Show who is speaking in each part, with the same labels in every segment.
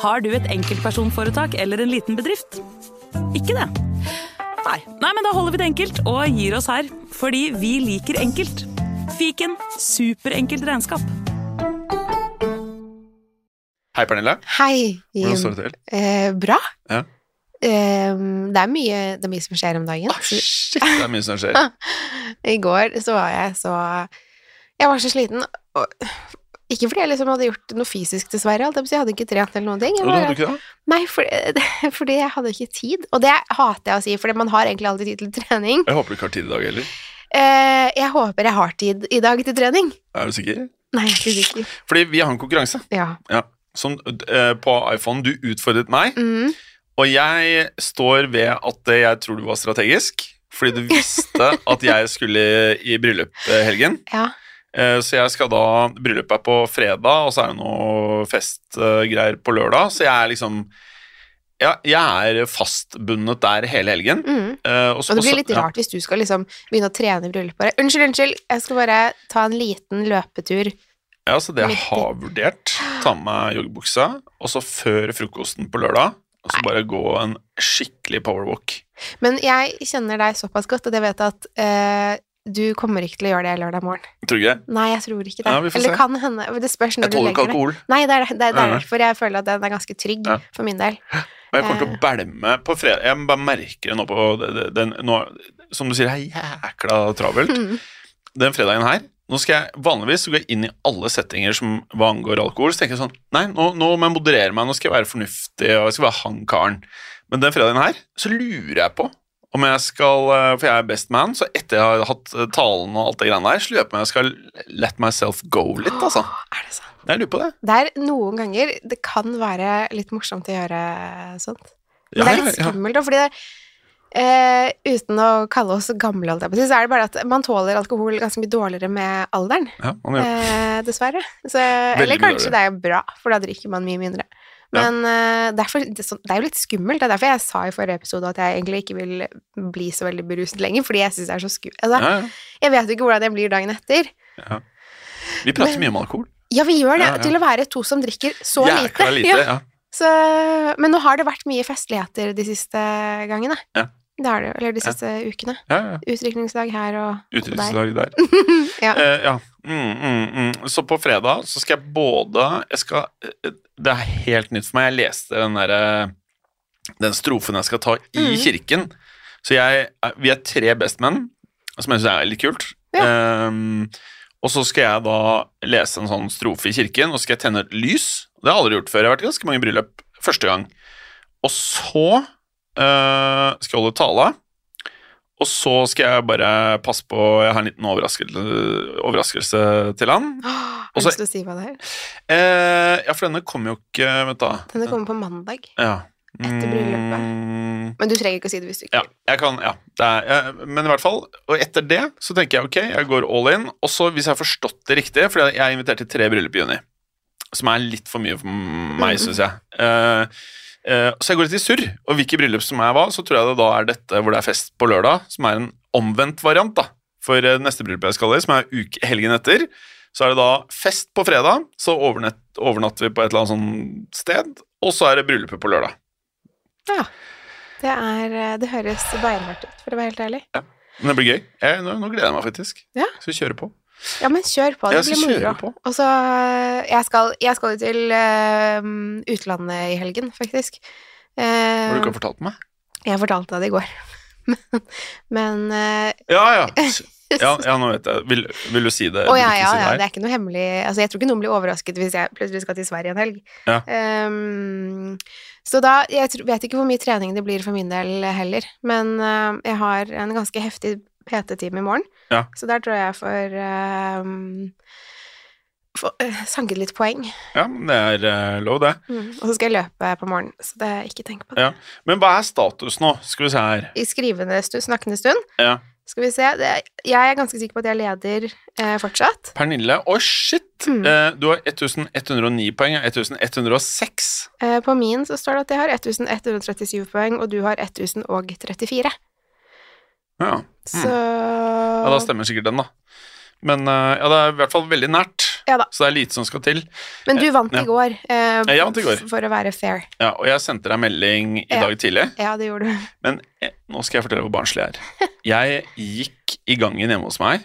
Speaker 1: Har du et enkeltpersonforetak eller en liten bedrift? Ikke det? Nei. Nei, men da holder vi det enkelt og gir oss her. Fordi vi liker enkelt. Fiken superenkelt regnskap.
Speaker 2: Hei, Pernille.
Speaker 3: Hei,
Speaker 2: Hvordan
Speaker 3: Jim.
Speaker 2: står det til?
Speaker 3: Eh, bra.
Speaker 2: Ja.
Speaker 3: Eh, det, er mye, det er mye som skjer om dagen.
Speaker 2: Ah, shit, det er mye som skjer.
Speaker 3: I går så var jeg så Jeg var så sliten. Og, ikke fordi jeg liksom hadde gjort noe fysisk, dessverre. alt det på å si, Jeg hadde ikke trent eller noen ting. Jeg
Speaker 2: Og du hadde
Speaker 3: bare,
Speaker 2: ikke det?
Speaker 3: nei, for, fordi jeg hadde ikke tid. Og det hater jeg å si, for man har egentlig alltid tid til trening.
Speaker 2: Jeg håper du ikke har tid i dag heller.
Speaker 3: Eh, jeg håper jeg har tid i dag til trening.
Speaker 2: Er du sikker?
Speaker 3: Nei, jeg er ikke sikker.
Speaker 2: Fordi vi har en konkurranse
Speaker 3: Ja.
Speaker 2: som, eh, på iPhone. Du utfordret meg,
Speaker 3: Mm.
Speaker 2: og jeg står ved at eh, jeg tror du var strategisk. Fordi du visste at jeg skulle i bryllup eh, helgen.
Speaker 3: Ja.
Speaker 2: Eh, Så jeg skal da Bryllupet er på fredag, og så er det noe festgreier på lørdag. Så jeg er liksom ja, Jeg er fastbundet der hele helgen.
Speaker 3: Mm.
Speaker 2: Eh, så
Speaker 3: Og
Speaker 2: på
Speaker 3: det blir
Speaker 2: sø-
Speaker 3: litt rart hvis du skal liksom begynne å trene i bryllupet. bare, Unnskyld, unnskyld, jeg skal bare ta en liten løpetur.
Speaker 2: Ja, ja, så det jeg
Speaker 3: Litt-
Speaker 2: har vurdert, ta med meg joggebuksa, og så før frokosten på lørdag, og så bare gå en skikkelig powerwalk.
Speaker 3: Men jeg kjenner deg såpass godt, at jeg vet at eh, du kommer ikke til å gjøre det lørdag morgen.
Speaker 2: Tror du ikke det?
Speaker 3: Nei, jeg tror ikke det.
Speaker 2: Ja, vi får
Speaker 3: Eller
Speaker 2: se.
Speaker 3: kan hende. Det spørs når
Speaker 2: Jeg
Speaker 3: du
Speaker 2: tåler ikke
Speaker 3: legger deg.
Speaker 2: alkohol,
Speaker 3: Nei, det er, det, det er
Speaker 2: Nei, nei.
Speaker 3: derfor jeg føler at den er ganske trygg
Speaker 2: Ja.
Speaker 3: for min del.
Speaker 2: og jeg kommer til å bælme på fredag. Jeg bare merker det nå på den, den, nå, Som du sier, det er jækla travelt.
Speaker 3: Mm.
Speaker 2: den fredagen her nå skal jeg, Vanligvis så går jeg inn i alle settinger som hva angår alkohol. Så tenker jeg sånn Nei, nå, nå må jeg moderere meg, nå skal jeg være fornuftig, og jeg skal være han karen. Men den fredagen her så lurer jeg på om jeg skal eh, For jeg er best man, så etter jeg har hatt eh, talen og alt det greiene der, så lurer jeg på om jeg skal let myself go litt, altså.
Speaker 3: Er det sant?
Speaker 2: Jeg lurer på det.
Speaker 3: Det er noen ganger det kan være litt morsomt å gjøre sånt. Men
Speaker 2: Ja,
Speaker 3: det er litt
Speaker 2: ja, ja.
Speaker 3: skummelt, da, fordi det Eh, uten å kalle oss gamle, holdt jeg på å si, så er det bare at man tåler alkohol ganske mye dårligere med alderen.
Speaker 2: Ja, man gjør-
Speaker 3: Eh, dessverre. Så, eller
Speaker 2: mye
Speaker 3: kanskje det er bra, for da drikker man mye mindre. Men eh, derfor, det, er så- det er jo litt skummelt. Det er derfor jeg sa i forrige episode at jeg egentlig ikke vil bli så veldig beruset lenger, fordi jeg syns det er så skummelt. Altså,
Speaker 2: ja, ja.
Speaker 3: Jeg vet jo ikke hvordan jeg blir dagen etter.
Speaker 2: Vi prater
Speaker 3: Men-
Speaker 2: mye om alkohol.
Speaker 3: Ja, vi gjør det,
Speaker 2: Ja, ja.
Speaker 3: til å være to som drikker så lite.
Speaker 2: Jækla lite.
Speaker 3: Ja,
Speaker 2: Ja.
Speaker 3: så, men nå har det vært mye festligheter de siste gangene.
Speaker 2: Ja.
Speaker 3: Det har det jo, eller de
Speaker 2: Ja.
Speaker 3: siste ukene.
Speaker 2: Ja, ja.
Speaker 3: Utdrikningsdag her og og der.
Speaker 2: Utryddelseslag der.
Speaker 3: Ja.
Speaker 2: Eh, ja. Mm, mm, mm. Så på fredag så skal jeg både jeg skal, eh, Det er helt nytt for meg. Jeg leste den derre Den strofen jeg skal ta i
Speaker 3: Mm.
Speaker 2: kirken. Så jeg, eh, vi er tre bestmenn, som jeg syns er litt kult. Ehm, og så skal jeg da lese en sånn strofe i kirken, og så skal jeg tenne et lys. Det har jeg aldri gjort før. Jeg har vært i ganske mange bryllup første gang. Og så eh, skal jeg holde tale. Og så skal jeg bare passe på Jeg har en liten overraskelse, overraskelse til han.
Speaker 3: Åh, har
Speaker 2: Og så-
Speaker 3: du lyst til å si hva det er?
Speaker 2: Eh, ja, for denne kommer jo ikke Vent, da.
Speaker 3: Denne kommer på mandag.
Speaker 2: ja.
Speaker 3: etter
Speaker 2: bryllupet.
Speaker 3: Men du trenger ikke å si det hvis du ikke
Speaker 2: Ja, jeg kan, ja. Det er, jeg, men i hvert fall, og etter det så tenker jeg ok, jeg går all in. Og så, hvis jeg har forstått det riktig, for jeg er invitert til tre bryllup i juni, som er litt for mye for meg,
Speaker 3: Mm.
Speaker 2: syns jeg. Eh, eh, så jeg går litt i surr. Og hvilke bryllup som er hva, så tror jeg det da er dette hvor det er fest på lørdag, som er en omvendt variant da, for eh, neste bryllup jeg skal i, som er uke, helgen etter. Så er det da fest på fredag, så overnett, overnatter vi på et eller annet sånt sted, og så er det bryllupet på lørdag.
Speaker 3: Det, er, eh, det høres beinhardt ut, for å være helt ærlig.
Speaker 2: Men det blir gøy. Jeg, nå, nå gleder jeg meg faktisk.
Speaker 3: Ja.
Speaker 2: Skal vi kjøre på?
Speaker 3: Ja, men kjør på. Det
Speaker 2: Jeg
Speaker 3: blir
Speaker 2: skal kjøre
Speaker 3: moro.
Speaker 2: på.
Speaker 3: Og så eh, Jeg skal jeg skal jo til eh, utlandet i helgen, faktisk. Eh,
Speaker 2: Har du ikke fortalt meg?
Speaker 3: jeg fortalte deg det i går. Men, men eh,
Speaker 2: Ja, ja. Ja, ja nå vet jeg. Vil, vil du si det?
Speaker 3: Å
Speaker 2: Vil du
Speaker 3: ja,
Speaker 2: ikke
Speaker 3: ja,
Speaker 2: si
Speaker 3: ja,
Speaker 2: her?
Speaker 3: det er ikke noe hemmelig Altså, jeg tror ikke noen blir overrasket hvis jeg plutselig skal til Sverige en helg.
Speaker 2: Ja.
Speaker 3: Ehm, så da Jeg tr- vet ikke hvor mye trening det blir for min del heller, men eh, jeg har en ganske heftig PT-time i morgen,
Speaker 2: Ja.
Speaker 3: så der tror jeg jeg får ehm, få- eh, sanket litt poeng. Mm.
Speaker 2: Ja, men det er eh, lov, det.
Speaker 3: Og så skal jeg løpe på morgenen, så det ikke tenk på det.
Speaker 2: Ja. Men hva er status nå? Skal vi se her.
Speaker 3: I skrivende stund, snakkende stund,
Speaker 2: Ja.
Speaker 3: skal vi se det, Jeg er ganske sikker på at jeg leder eh, fortsatt.
Speaker 2: Pernille, å shit!
Speaker 3: Mm.
Speaker 2: Eh, du har 1109 poeng, jeg har 1106.
Speaker 3: Eh, På min så står det at jeg har 1137 poeng, og du har 1034.
Speaker 2: Ja.
Speaker 3: Så
Speaker 2: ja, da stemmer sikkert den, da. Men eh, ja, det er i hvert fall veldig nært.
Speaker 3: Ja da.
Speaker 2: Så det er lite som skal til.
Speaker 3: Men du vant
Speaker 2: Ja.
Speaker 3: i går, eh,
Speaker 2: Jeg vant i går.
Speaker 3: f- for å være fair.
Speaker 2: Ja, og jeg sendte deg melding i
Speaker 3: Ja.
Speaker 2: dag tidlig,
Speaker 3: Ja, det gjorde du.
Speaker 2: men eh, nå skal jeg fortelle hvor barnslig jeg er. Jeg gikk i gangen hjemme hos meg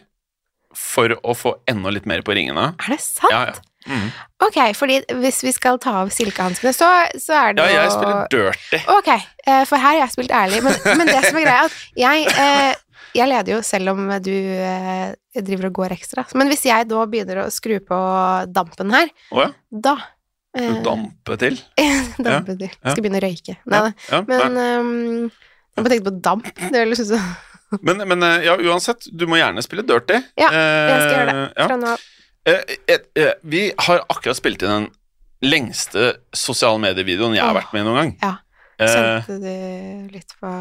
Speaker 2: for å få enda litt mer på ringene.
Speaker 3: Er det sant?
Speaker 2: Ja, ja. Mm.
Speaker 3: Ok, fordi hvis vi skal ta av silkehanskene, så, så er det
Speaker 2: ja, jeg
Speaker 3: jo-
Speaker 2: spiller dirty.
Speaker 3: Ok, eh, for her har jeg spilt ærlig, men, men det som er greia, er at jeg, eh, jeg leder jo selv om du eh, driver og går ekstra. Men hvis jeg da begynner å skru på dampen her,
Speaker 2: Å ja,
Speaker 3: da
Speaker 2: du
Speaker 3: eh,
Speaker 2: damper til.
Speaker 3: Dampen du.
Speaker 2: ja.
Speaker 3: Skal begynne å røyke. Nei, da.
Speaker 2: Ja,
Speaker 3: men
Speaker 2: nei.
Speaker 3: ehm, jeg bare tenkte på damp. Det er liksom sånn
Speaker 2: men, men eh, ja, uansett, du må gjerne spille dirty.
Speaker 3: Ja, jeg skal gjøre
Speaker 2: Eh, ja.
Speaker 3: fra nå av.
Speaker 2: Eh, et- eh, vi har akkurat spilt inn den lengste sosiale medievideoen jeg har
Speaker 3: Åh.
Speaker 2: vært med i noen gang.
Speaker 3: Ja.
Speaker 2: Eh,
Speaker 3: Kjente du litt på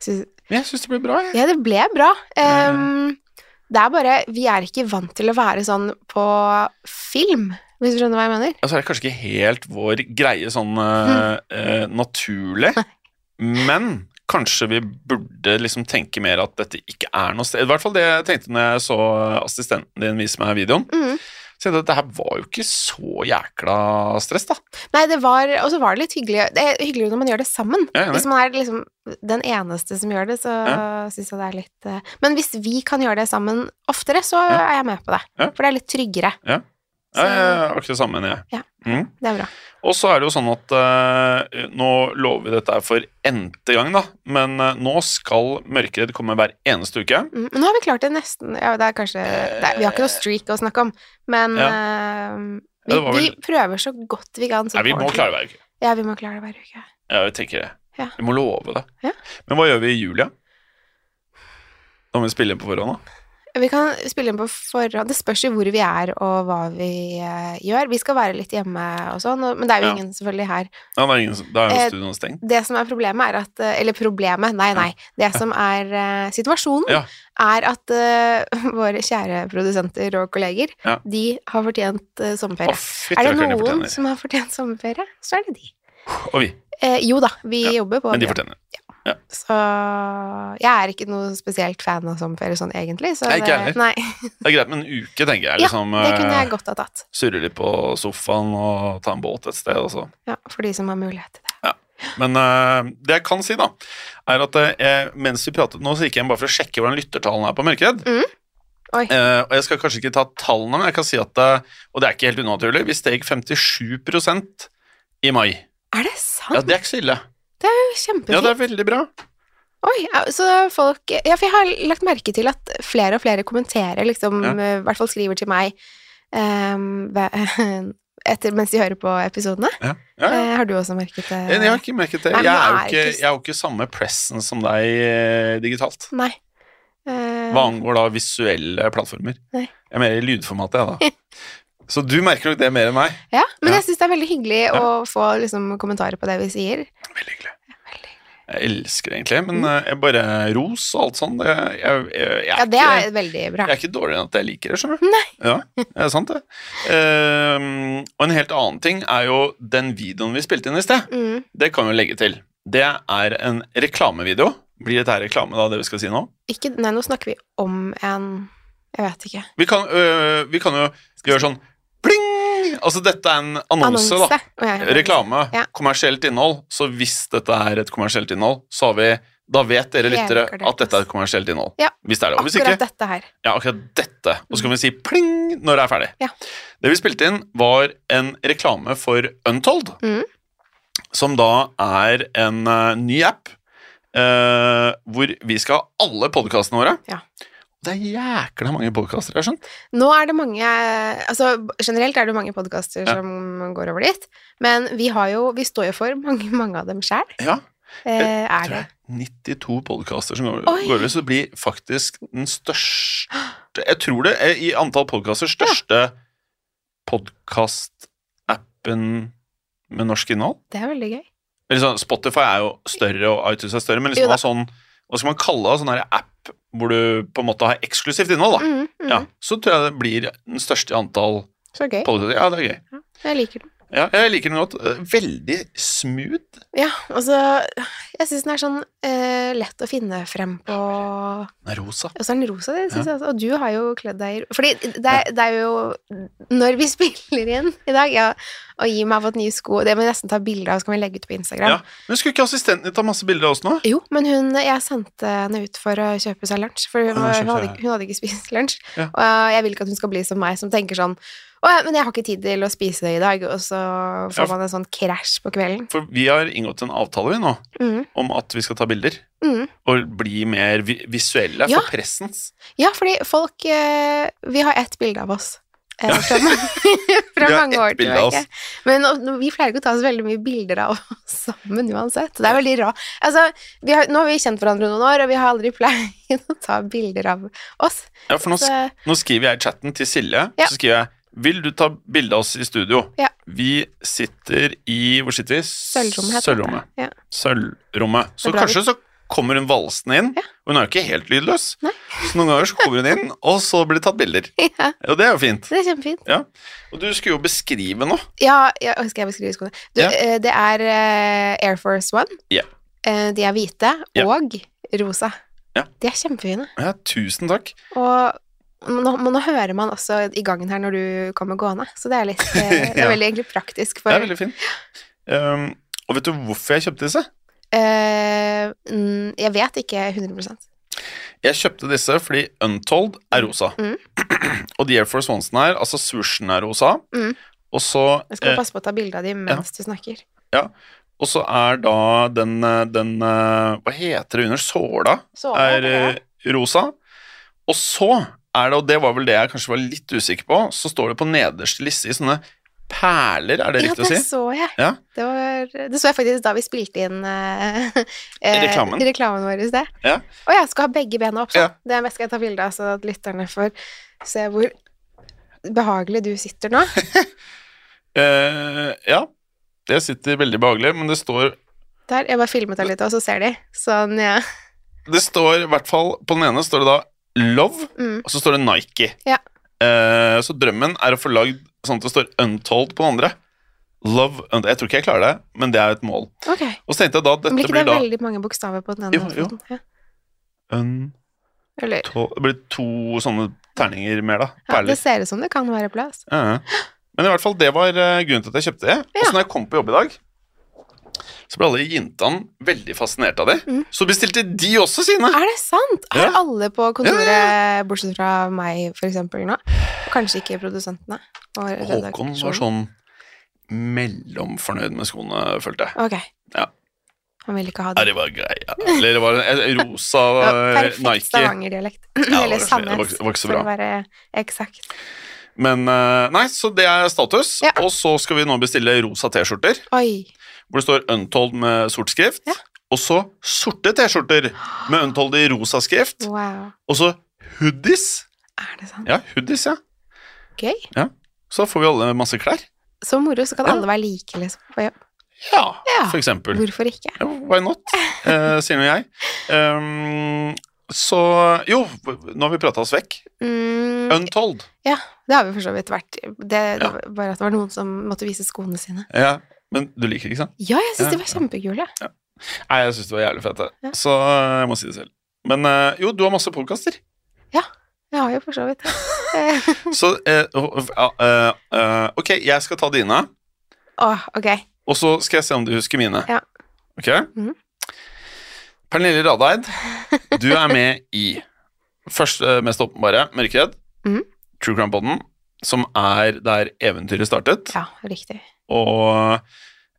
Speaker 3: synes-
Speaker 2: men jeg syns det ble bra, jeg.
Speaker 3: Ja, det ble bra. Ehm, det er bare Vi er ikke vant til å være sånn på film, hvis du skjønner hva jeg mener.
Speaker 2: Altså, det er kanskje ikke helt vår greie sånn eh, eh, naturlig, men kanskje vi burde liksom tenke mer at dette ikke er noe sted. I hvert fall det jeg tenkte når jeg så assistenten din vise meg videoen.
Speaker 3: Mm.
Speaker 2: Så jeg tenkte at det her var jo ikke så jækla stress, da.
Speaker 3: Nei, det var Og så var det litt hyggelig. Det er hyggelig når man gjør det sammen.
Speaker 2: Jeg er enig.
Speaker 3: Hvis man er liksom den eneste som gjør det, så syns jeg det er litt eh, Men hvis vi kan gjøre det sammen oftere, så
Speaker 2: Ja.
Speaker 3: er jeg med på det.
Speaker 2: Ja.
Speaker 3: For det er litt tryggere.
Speaker 2: Ja.
Speaker 3: Så
Speaker 2: Jeg er akkurat det samme, jeg.
Speaker 3: Ja.
Speaker 2: Mm.
Speaker 3: det er bra.
Speaker 2: Og så er det jo sånn at eh, nå lover vi dette her for n-te gang, da, men eh, nå skal Mørkeredd komme hver eneste uke.
Speaker 3: Mm. Men nå har vi klart det nesten. Ja, det er kanskje det er, Vi har ikke noe streak å snakke om, men eh, vi,
Speaker 2: Ja, det var
Speaker 3: vi
Speaker 2: vel-
Speaker 3: prøver så godt vi kan. sånn
Speaker 2: Nei, vi må
Speaker 3: ordentlig.
Speaker 2: klare hver uke.
Speaker 3: Ja, vi må klare det hver uke.
Speaker 2: Ja, jeg tenker det.
Speaker 3: Ja.
Speaker 2: Vi må love det.
Speaker 3: Ja.
Speaker 2: Men hva gjør vi i jula? Da må vi spille inn på forhånd, da.
Speaker 3: Vi kan spille inn på forhånd. Det spørs jo hvor vi er og hva vi eh, gjør. Vi skal være litt hjemme og sånn, og- men det er jo
Speaker 2: Ja.
Speaker 3: ingen selvfølgelig her.
Speaker 2: Ja, det er ingen, som- da er
Speaker 3: Eh,
Speaker 2: jo studioene stengt.
Speaker 3: Det som er problemet er at eh, Eller problemet, nei, nei. Det som er eh, situasjonen,
Speaker 2: Ja.
Speaker 3: er at eh, våre kjære produsenter og kolleger,
Speaker 2: Ja.
Speaker 3: de har fortjent eh,
Speaker 2: Å,
Speaker 3: sommerferie.
Speaker 2: fytti
Speaker 3: er det
Speaker 2: rakkeren, de
Speaker 3: noen
Speaker 2: fortjener.
Speaker 3: som har fortjent sommerferie, så er det de.
Speaker 2: Og vi.
Speaker 3: Eh, jo da, vi
Speaker 2: Ja,
Speaker 3: jobber på
Speaker 2: Men de
Speaker 3: det.
Speaker 2: fortjener.
Speaker 3: Så jeg er ikke noe spesielt fan av sommerferie sånn egentlig. Så
Speaker 2: Nei, ikke
Speaker 3: det-
Speaker 2: heller.
Speaker 3: Nei,
Speaker 2: Det er greit med en uke, tenker jeg.
Speaker 3: Ja,
Speaker 2: Liksom,
Speaker 3: det kunne
Speaker 2: eh,
Speaker 3: jeg godt ha tatt.
Speaker 2: Surre litt på sofaen og ta en båt et sted, og så.
Speaker 3: Ja, for de som har mulighet til det.
Speaker 2: Men eh, det jeg kan si, da, er at eh, mens vi pratet nå, så gikk jeg inn bare for å sjekke hvordan lyttertallene er på Mørkeredd.
Speaker 3: Mm. Oi.
Speaker 2: Eh, og jeg skal kanskje ikke ta tallene, men jeg kan si at eh, Og det er ikke helt unaturlig. Vi steg 57 i mai.
Speaker 3: Er det
Speaker 2: Ja,
Speaker 3: sant?
Speaker 2: det er ikke så ille.
Speaker 3: Det er Kjempefint.
Speaker 2: Ja, det er veldig bra.
Speaker 3: Oi, ja, så folk Ja, for jeg har lagt merke til at flere og flere kommenterer, liksom,
Speaker 2: Ja.
Speaker 3: eh, i hvert fall skriver til meg ehm, hva- etter, mens de hører på episodene.
Speaker 2: Ja, ja, ja.
Speaker 3: Eh, har du også merket det?
Speaker 2: Jeg har ikke merket det.
Speaker 3: Nei,
Speaker 2: Jeg er jo
Speaker 3: men det er
Speaker 2: ikke,
Speaker 3: ikke-
Speaker 2: jeg er jo ikke samme pressen som deg eh, digitalt.
Speaker 3: Nei. Eh,
Speaker 2: Hva angår da visuelle plattformer.
Speaker 3: Nei.
Speaker 2: Jeg er mer i lydformatet, jeg, da. Så du merker nok det mer enn meg.
Speaker 3: ja, men
Speaker 2: Ja.
Speaker 3: jeg syns det er veldig hyggelig å få liksom, kommentarer på det vi sier.
Speaker 2: Veldig hyggelig.
Speaker 3: Veldig.
Speaker 2: Jeg elsker det egentlig, men eh, jeg bare ros og alt sånt. Jeg, jeg, jeg, jeg,
Speaker 3: Mm. Ja,
Speaker 2: er
Speaker 3: det
Speaker 2: ikke,
Speaker 3: er veldig
Speaker 2: jeg
Speaker 3: bra.
Speaker 2: er ikke dårligere enn at jeg liker det, skjønner du. Ja, det er sant, det. Ehm, og en helt annen ting er jo den videoen vi spilte inn i sted.
Speaker 3: Mm.
Speaker 2: Det kan vi jo legge til. Det er en reklamevideo. Blir dette her reklame, da, det vi skal si nå?
Speaker 3: Ikke Nei, nå snakker vi om en Jeg vet ikke.
Speaker 2: Vi kan, øh, vi kan jo gjøre sånn pling! Altså, dette er en annonse, da.
Speaker 3: Å, ja, ja.
Speaker 2: Reklame.
Speaker 3: Ja.
Speaker 2: Kommersielt innhold. Så hvis dette er et kommersielt innhold, så har vi da vet dere
Speaker 3: Helt
Speaker 2: lyttere
Speaker 3: klart.
Speaker 2: at dette er et kommersielt innhold.
Speaker 3: Ja.
Speaker 2: Hvis det er det. Og hvis
Speaker 3: Akkurat
Speaker 2: ikke,
Speaker 3: dette her.
Speaker 2: ja, akkurat dette. Og så kan vi si pling når det er ferdig.
Speaker 3: Ja.
Speaker 2: Det vi spilte inn, var en reklame for Untold,
Speaker 3: Mhm.
Speaker 2: som da er en eh, ny app eh, hvor vi skal ha alle podkastene våre.
Speaker 3: Ja.
Speaker 2: Det er jækla mange podkaster, jeg har skjønt.
Speaker 3: Nå er det mange Altså generelt er det mange podkaster
Speaker 2: Ja.
Speaker 3: som går over dit, men vi har jo Vi står jo for mange, mange av dem sjæl.
Speaker 2: Ja.
Speaker 3: Eh, er
Speaker 2: tror
Speaker 3: det
Speaker 2: jeg 92 podkaster som går
Speaker 3: Oi.
Speaker 2: går over, så det blir faktisk den største Jeg tror det er i antall podkaster største podkastappen med norsk innhold.
Speaker 3: Det er veldig gøy.
Speaker 2: Eller sånn, Spotify er jo større, og iTunes er større, men
Speaker 3: Jo
Speaker 2: liksom
Speaker 3: da.
Speaker 2: ha sånn Hva skal man kalle det? Sånn her app hvor du på en måte har eksklusivt innhold, da.
Speaker 3: Mm, mm,
Speaker 2: Ja, så tror jeg det blir den største i antall
Speaker 3: Så gøy.
Speaker 2: podkaster. Ja, det er gøy.
Speaker 3: Jeg liker den.
Speaker 2: Ja, jeg liker den godt. Eh, Veldig smooth.
Speaker 3: Ja, og så Jeg syns den er sånn eh, lett å finne frem på Og
Speaker 2: Den er rosa.
Speaker 3: så er den rosa, det syns jeg også. Og du har jo kledd deg i ro- Fordi det er, det er jo Når vi spiller inn i dag, ja, og Jim har fått nye sko Det må vi nesten ta bilde av, så kan vi legge ut på Instagram.
Speaker 2: Ja. Men skulle ikke assistenten din ta masse bilder av oss nå?
Speaker 3: Jo, men hun, jeg sendte henne ut for å kjøpe seg lunsj, for hun,
Speaker 2: Ja,
Speaker 3: var,
Speaker 2: Ah, kjøpe
Speaker 3: hun, hadde,
Speaker 2: seg-
Speaker 3: ikke- hun hadde ikke spist lunsj.
Speaker 2: Ja.
Speaker 3: Og jeg vil ikke at hun skal bli som meg, som tenker sånn Å, ja, men jeg har ikke tid til å spise det i dag, og så
Speaker 2: Ja,
Speaker 3: får
Speaker 2: for-
Speaker 3: man en sånn krasj på kvelden.
Speaker 2: For vi har inngått en avtale vi nå
Speaker 3: Mm,
Speaker 2: om at vi skal ta bilder.
Speaker 3: mm.
Speaker 2: Og bli mer vi- visuelle
Speaker 3: Ja.
Speaker 2: for pressens.
Speaker 3: Ja, fordi folk eh, Vi har ett bilde av oss. eh, Fra, fra
Speaker 2: Vi har
Speaker 3: mange
Speaker 2: ett
Speaker 3: år
Speaker 2: bilde av
Speaker 3: tilbake. Men nå- vi pleier ikke å ta så veldig mye bilder av oss sammen uansett. Det er veldig rart. Altså, vi har, nå har vi kjent hverandre noen år, og vi har aldri pleid å ta bilder av oss.
Speaker 2: Ja, for nå,
Speaker 3: Så,
Speaker 2: nå skriver jeg i chatten til Silje.
Speaker 3: Ja.
Speaker 2: Så skriver jeg Vil du ta bilde av oss i studio?
Speaker 3: Ja.
Speaker 2: Vi sitter i Hvor sitter vi?
Speaker 3: Sølvrommet heter
Speaker 2: Sølvrommet.
Speaker 3: det. Ja.
Speaker 2: Sølvrommet. Så
Speaker 3: Det er bra
Speaker 2: kanskje så kommer hun valsende inn.
Speaker 3: Ja.
Speaker 2: og Hun er jo ikke helt lydløs.
Speaker 3: Nei.
Speaker 2: Så noen ganger så kommer hun inn, og så blir det tatt bilder.
Speaker 3: ja,
Speaker 2: Og det er jo fint.
Speaker 3: det er kjempefint.
Speaker 2: Og du skulle jo beskrive noe.
Speaker 3: Ja, ja å, skal jeg beskrive skoene? Du,
Speaker 2: Ja.
Speaker 3: eh, Det er eh, Air Force One.
Speaker 2: Ja.
Speaker 3: Eh, de er hvite
Speaker 2: Ja.
Speaker 3: og rosa.
Speaker 2: Ja.
Speaker 3: De er kjempefine.
Speaker 2: Ja, tusen takk.
Speaker 3: Og nå, men nå hører man også i gangen her når du kommer gående, så det er, litt, eh, det
Speaker 2: Ja.
Speaker 3: er veldig egentlig praktisk
Speaker 2: Det
Speaker 3: for
Speaker 2: er veldig fint. Um, og vet du hvorfor jeg kjøpte disse?
Speaker 3: eh, mm, Jeg vet ikke 100
Speaker 2: Jeg kjøpte disse fordi Untold er rosa.
Speaker 3: Mm.
Speaker 2: og de Air Force Onesene her, altså swooshen er rosa.
Speaker 3: Mm.
Speaker 2: Og så,
Speaker 3: Jeg skal
Speaker 2: eh,
Speaker 3: passe på å ta bilde av dem mens du snakker.
Speaker 2: og så er da den, eh, den eh, Hva heter det under såla?
Speaker 3: Så,
Speaker 2: Er
Speaker 3: ja.
Speaker 2: eh, rosa. Og så er det, og det var vel det jeg kanskje var litt usikker på, så står det på nederste liste i sånne perler, er det
Speaker 3: Ja,
Speaker 2: riktig å
Speaker 3: det
Speaker 2: si?
Speaker 3: så jeg.
Speaker 2: Ja.
Speaker 3: Det, var, det så jeg faktisk da vi spilte inn eh, eh,
Speaker 2: Reklamen.
Speaker 3: reklamen vår i sted.
Speaker 2: Ja.
Speaker 3: Og jeg skal ha begge bena opp, sånn.
Speaker 2: Ja.
Speaker 3: Det er mest skal jeg ta bilde av, så at lytterne får se hvor behagelig du sitter nå.
Speaker 2: Eh, ja. Det sitter veldig behagelig, men det står
Speaker 3: Der, Jeg bare filmet deg litt, og så ser de. Sånn, ja.
Speaker 2: Det står i hvert fall På den ene står det da Love,
Speaker 3: Mm.
Speaker 2: og så står det Nike.
Speaker 3: Ja.
Speaker 2: Eh, så drømmen er å få lagd sånn at det står Untold på den andre. Love Untold. Jeg tror ikke jeg klarer det, men det er et mål.
Speaker 3: Ok.
Speaker 2: Og så tenkte jeg da at
Speaker 3: Men blir
Speaker 2: dette
Speaker 3: ikke
Speaker 2: blir
Speaker 3: det
Speaker 2: da
Speaker 3: veldig mange bokstaver på den ene?
Speaker 2: Jo, jo.
Speaker 3: foten? Ja.
Speaker 2: Untold
Speaker 3: Eller,
Speaker 2: Det blir to sånne terninger mer, da.
Speaker 3: ja, det
Speaker 2: Perler.
Speaker 3: ser ut som det kan være plass.
Speaker 2: Ja. Men i hvert fall, det var eh, grunnen til at jeg kjøpte det. Og
Speaker 3: Ja.
Speaker 2: så når jeg kom på jobb i dag, så ble alle jentene veldig fascinert av det.
Speaker 3: Mm.
Speaker 2: Så bestilte de også sine.
Speaker 3: Er det sant? Har
Speaker 2: Ja.
Speaker 3: alle på kontoret,
Speaker 2: Ja,
Speaker 3: bortsett fra meg, for eksempel, nå? Og kanskje ikke produsentene? og
Speaker 2: Håkon
Speaker 3: redaksjonen?
Speaker 2: var sånn mellomfornøyd med skoene, følte jeg.
Speaker 3: Ok.
Speaker 2: Ja.
Speaker 3: Han vil ikke ha
Speaker 2: Ja,
Speaker 3: det.
Speaker 2: det var greia. Eller det var en rosa
Speaker 3: Det var
Speaker 2: eh,
Speaker 3: perfekt
Speaker 2: Nike.
Speaker 3: Stavanger-dialekt.
Speaker 2: var ikke-
Speaker 3: Eller
Speaker 2: det
Speaker 3: Sandnes,
Speaker 2: var ikke- det var ikke så
Speaker 3: for
Speaker 2: bra.
Speaker 3: å være eksakt.
Speaker 2: Men eh, nei, så det er status.
Speaker 3: Ja.
Speaker 2: Og så skal vi nå bestille rosa T-skjorter,
Speaker 3: Oi.
Speaker 2: hvor det står Untold med sort skrift.
Speaker 3: Ja.
Speaker 2: Og så sorte T-skjorter med Untold i rosa skrift.
Speaker 3: Wow.
Speaker 2: Og så hoodies.
Speaker 3: Er det sant?
Speaker 2: Ja, hoodies, ja.
Speaker 3: Gøy.
Speaker 2: Så da får vi alle masse klær.
Speaker 3: Så moro, så kan
Speaker 2: Ja.
Speaker 3: alle være like, liksom. På jobb.
Speaker 2: Ja,
Speaker 3: Ja.
Speaker 2: for eksempel.
Speaker 3: Hvorfor ikke?
Speaker 2: Ja, why not, eh, sier nå jeg. Um, så Jo, nå har vi prata oss vekk.
Speaker 3: Mm,
Speaker 2: Untold.
Speaker 3: det har vi for så vidt vært. Det, det
Speaker 2: Ja.
Speaker 3: var bare at det var noen som måtte vise skoene sine.
Speaker 2: Ja, men du liker det, ikke sant?
Speaker 3: Ja, jeg
Speaker 2: Ja,
Speaker 3: syns de var kjempekule.
Speaker 2: Nei, jeg syns det var jævlig fett, det.
Speaker 3: Ja.
Speaker 2: Så eh, jeg må si det selv. Men eh, jo, du har masse podkaster.
Speaker 3: Jeg har jo for så vidt det.
Speaker 2: Så eh, og- ja, eh, eh, Ok, jeg skal ta dine,
Speaker 3: Åh, ok.
Speaker 2: og så skal jeg se om du husker mine.
Speaker 3: Ja.
Speaker 2: Ok?
Speaker 3: Mhm.
Speaker 2: Pernille Radeid, du er med i først eh, mest åpenbare, Mørkeredd,
Speaker 3: Mhm.
Speaker 2: True Crime Podden, som er der eventyret startet.
Speaker 3: Ja, riktig.
Speaker 2: Og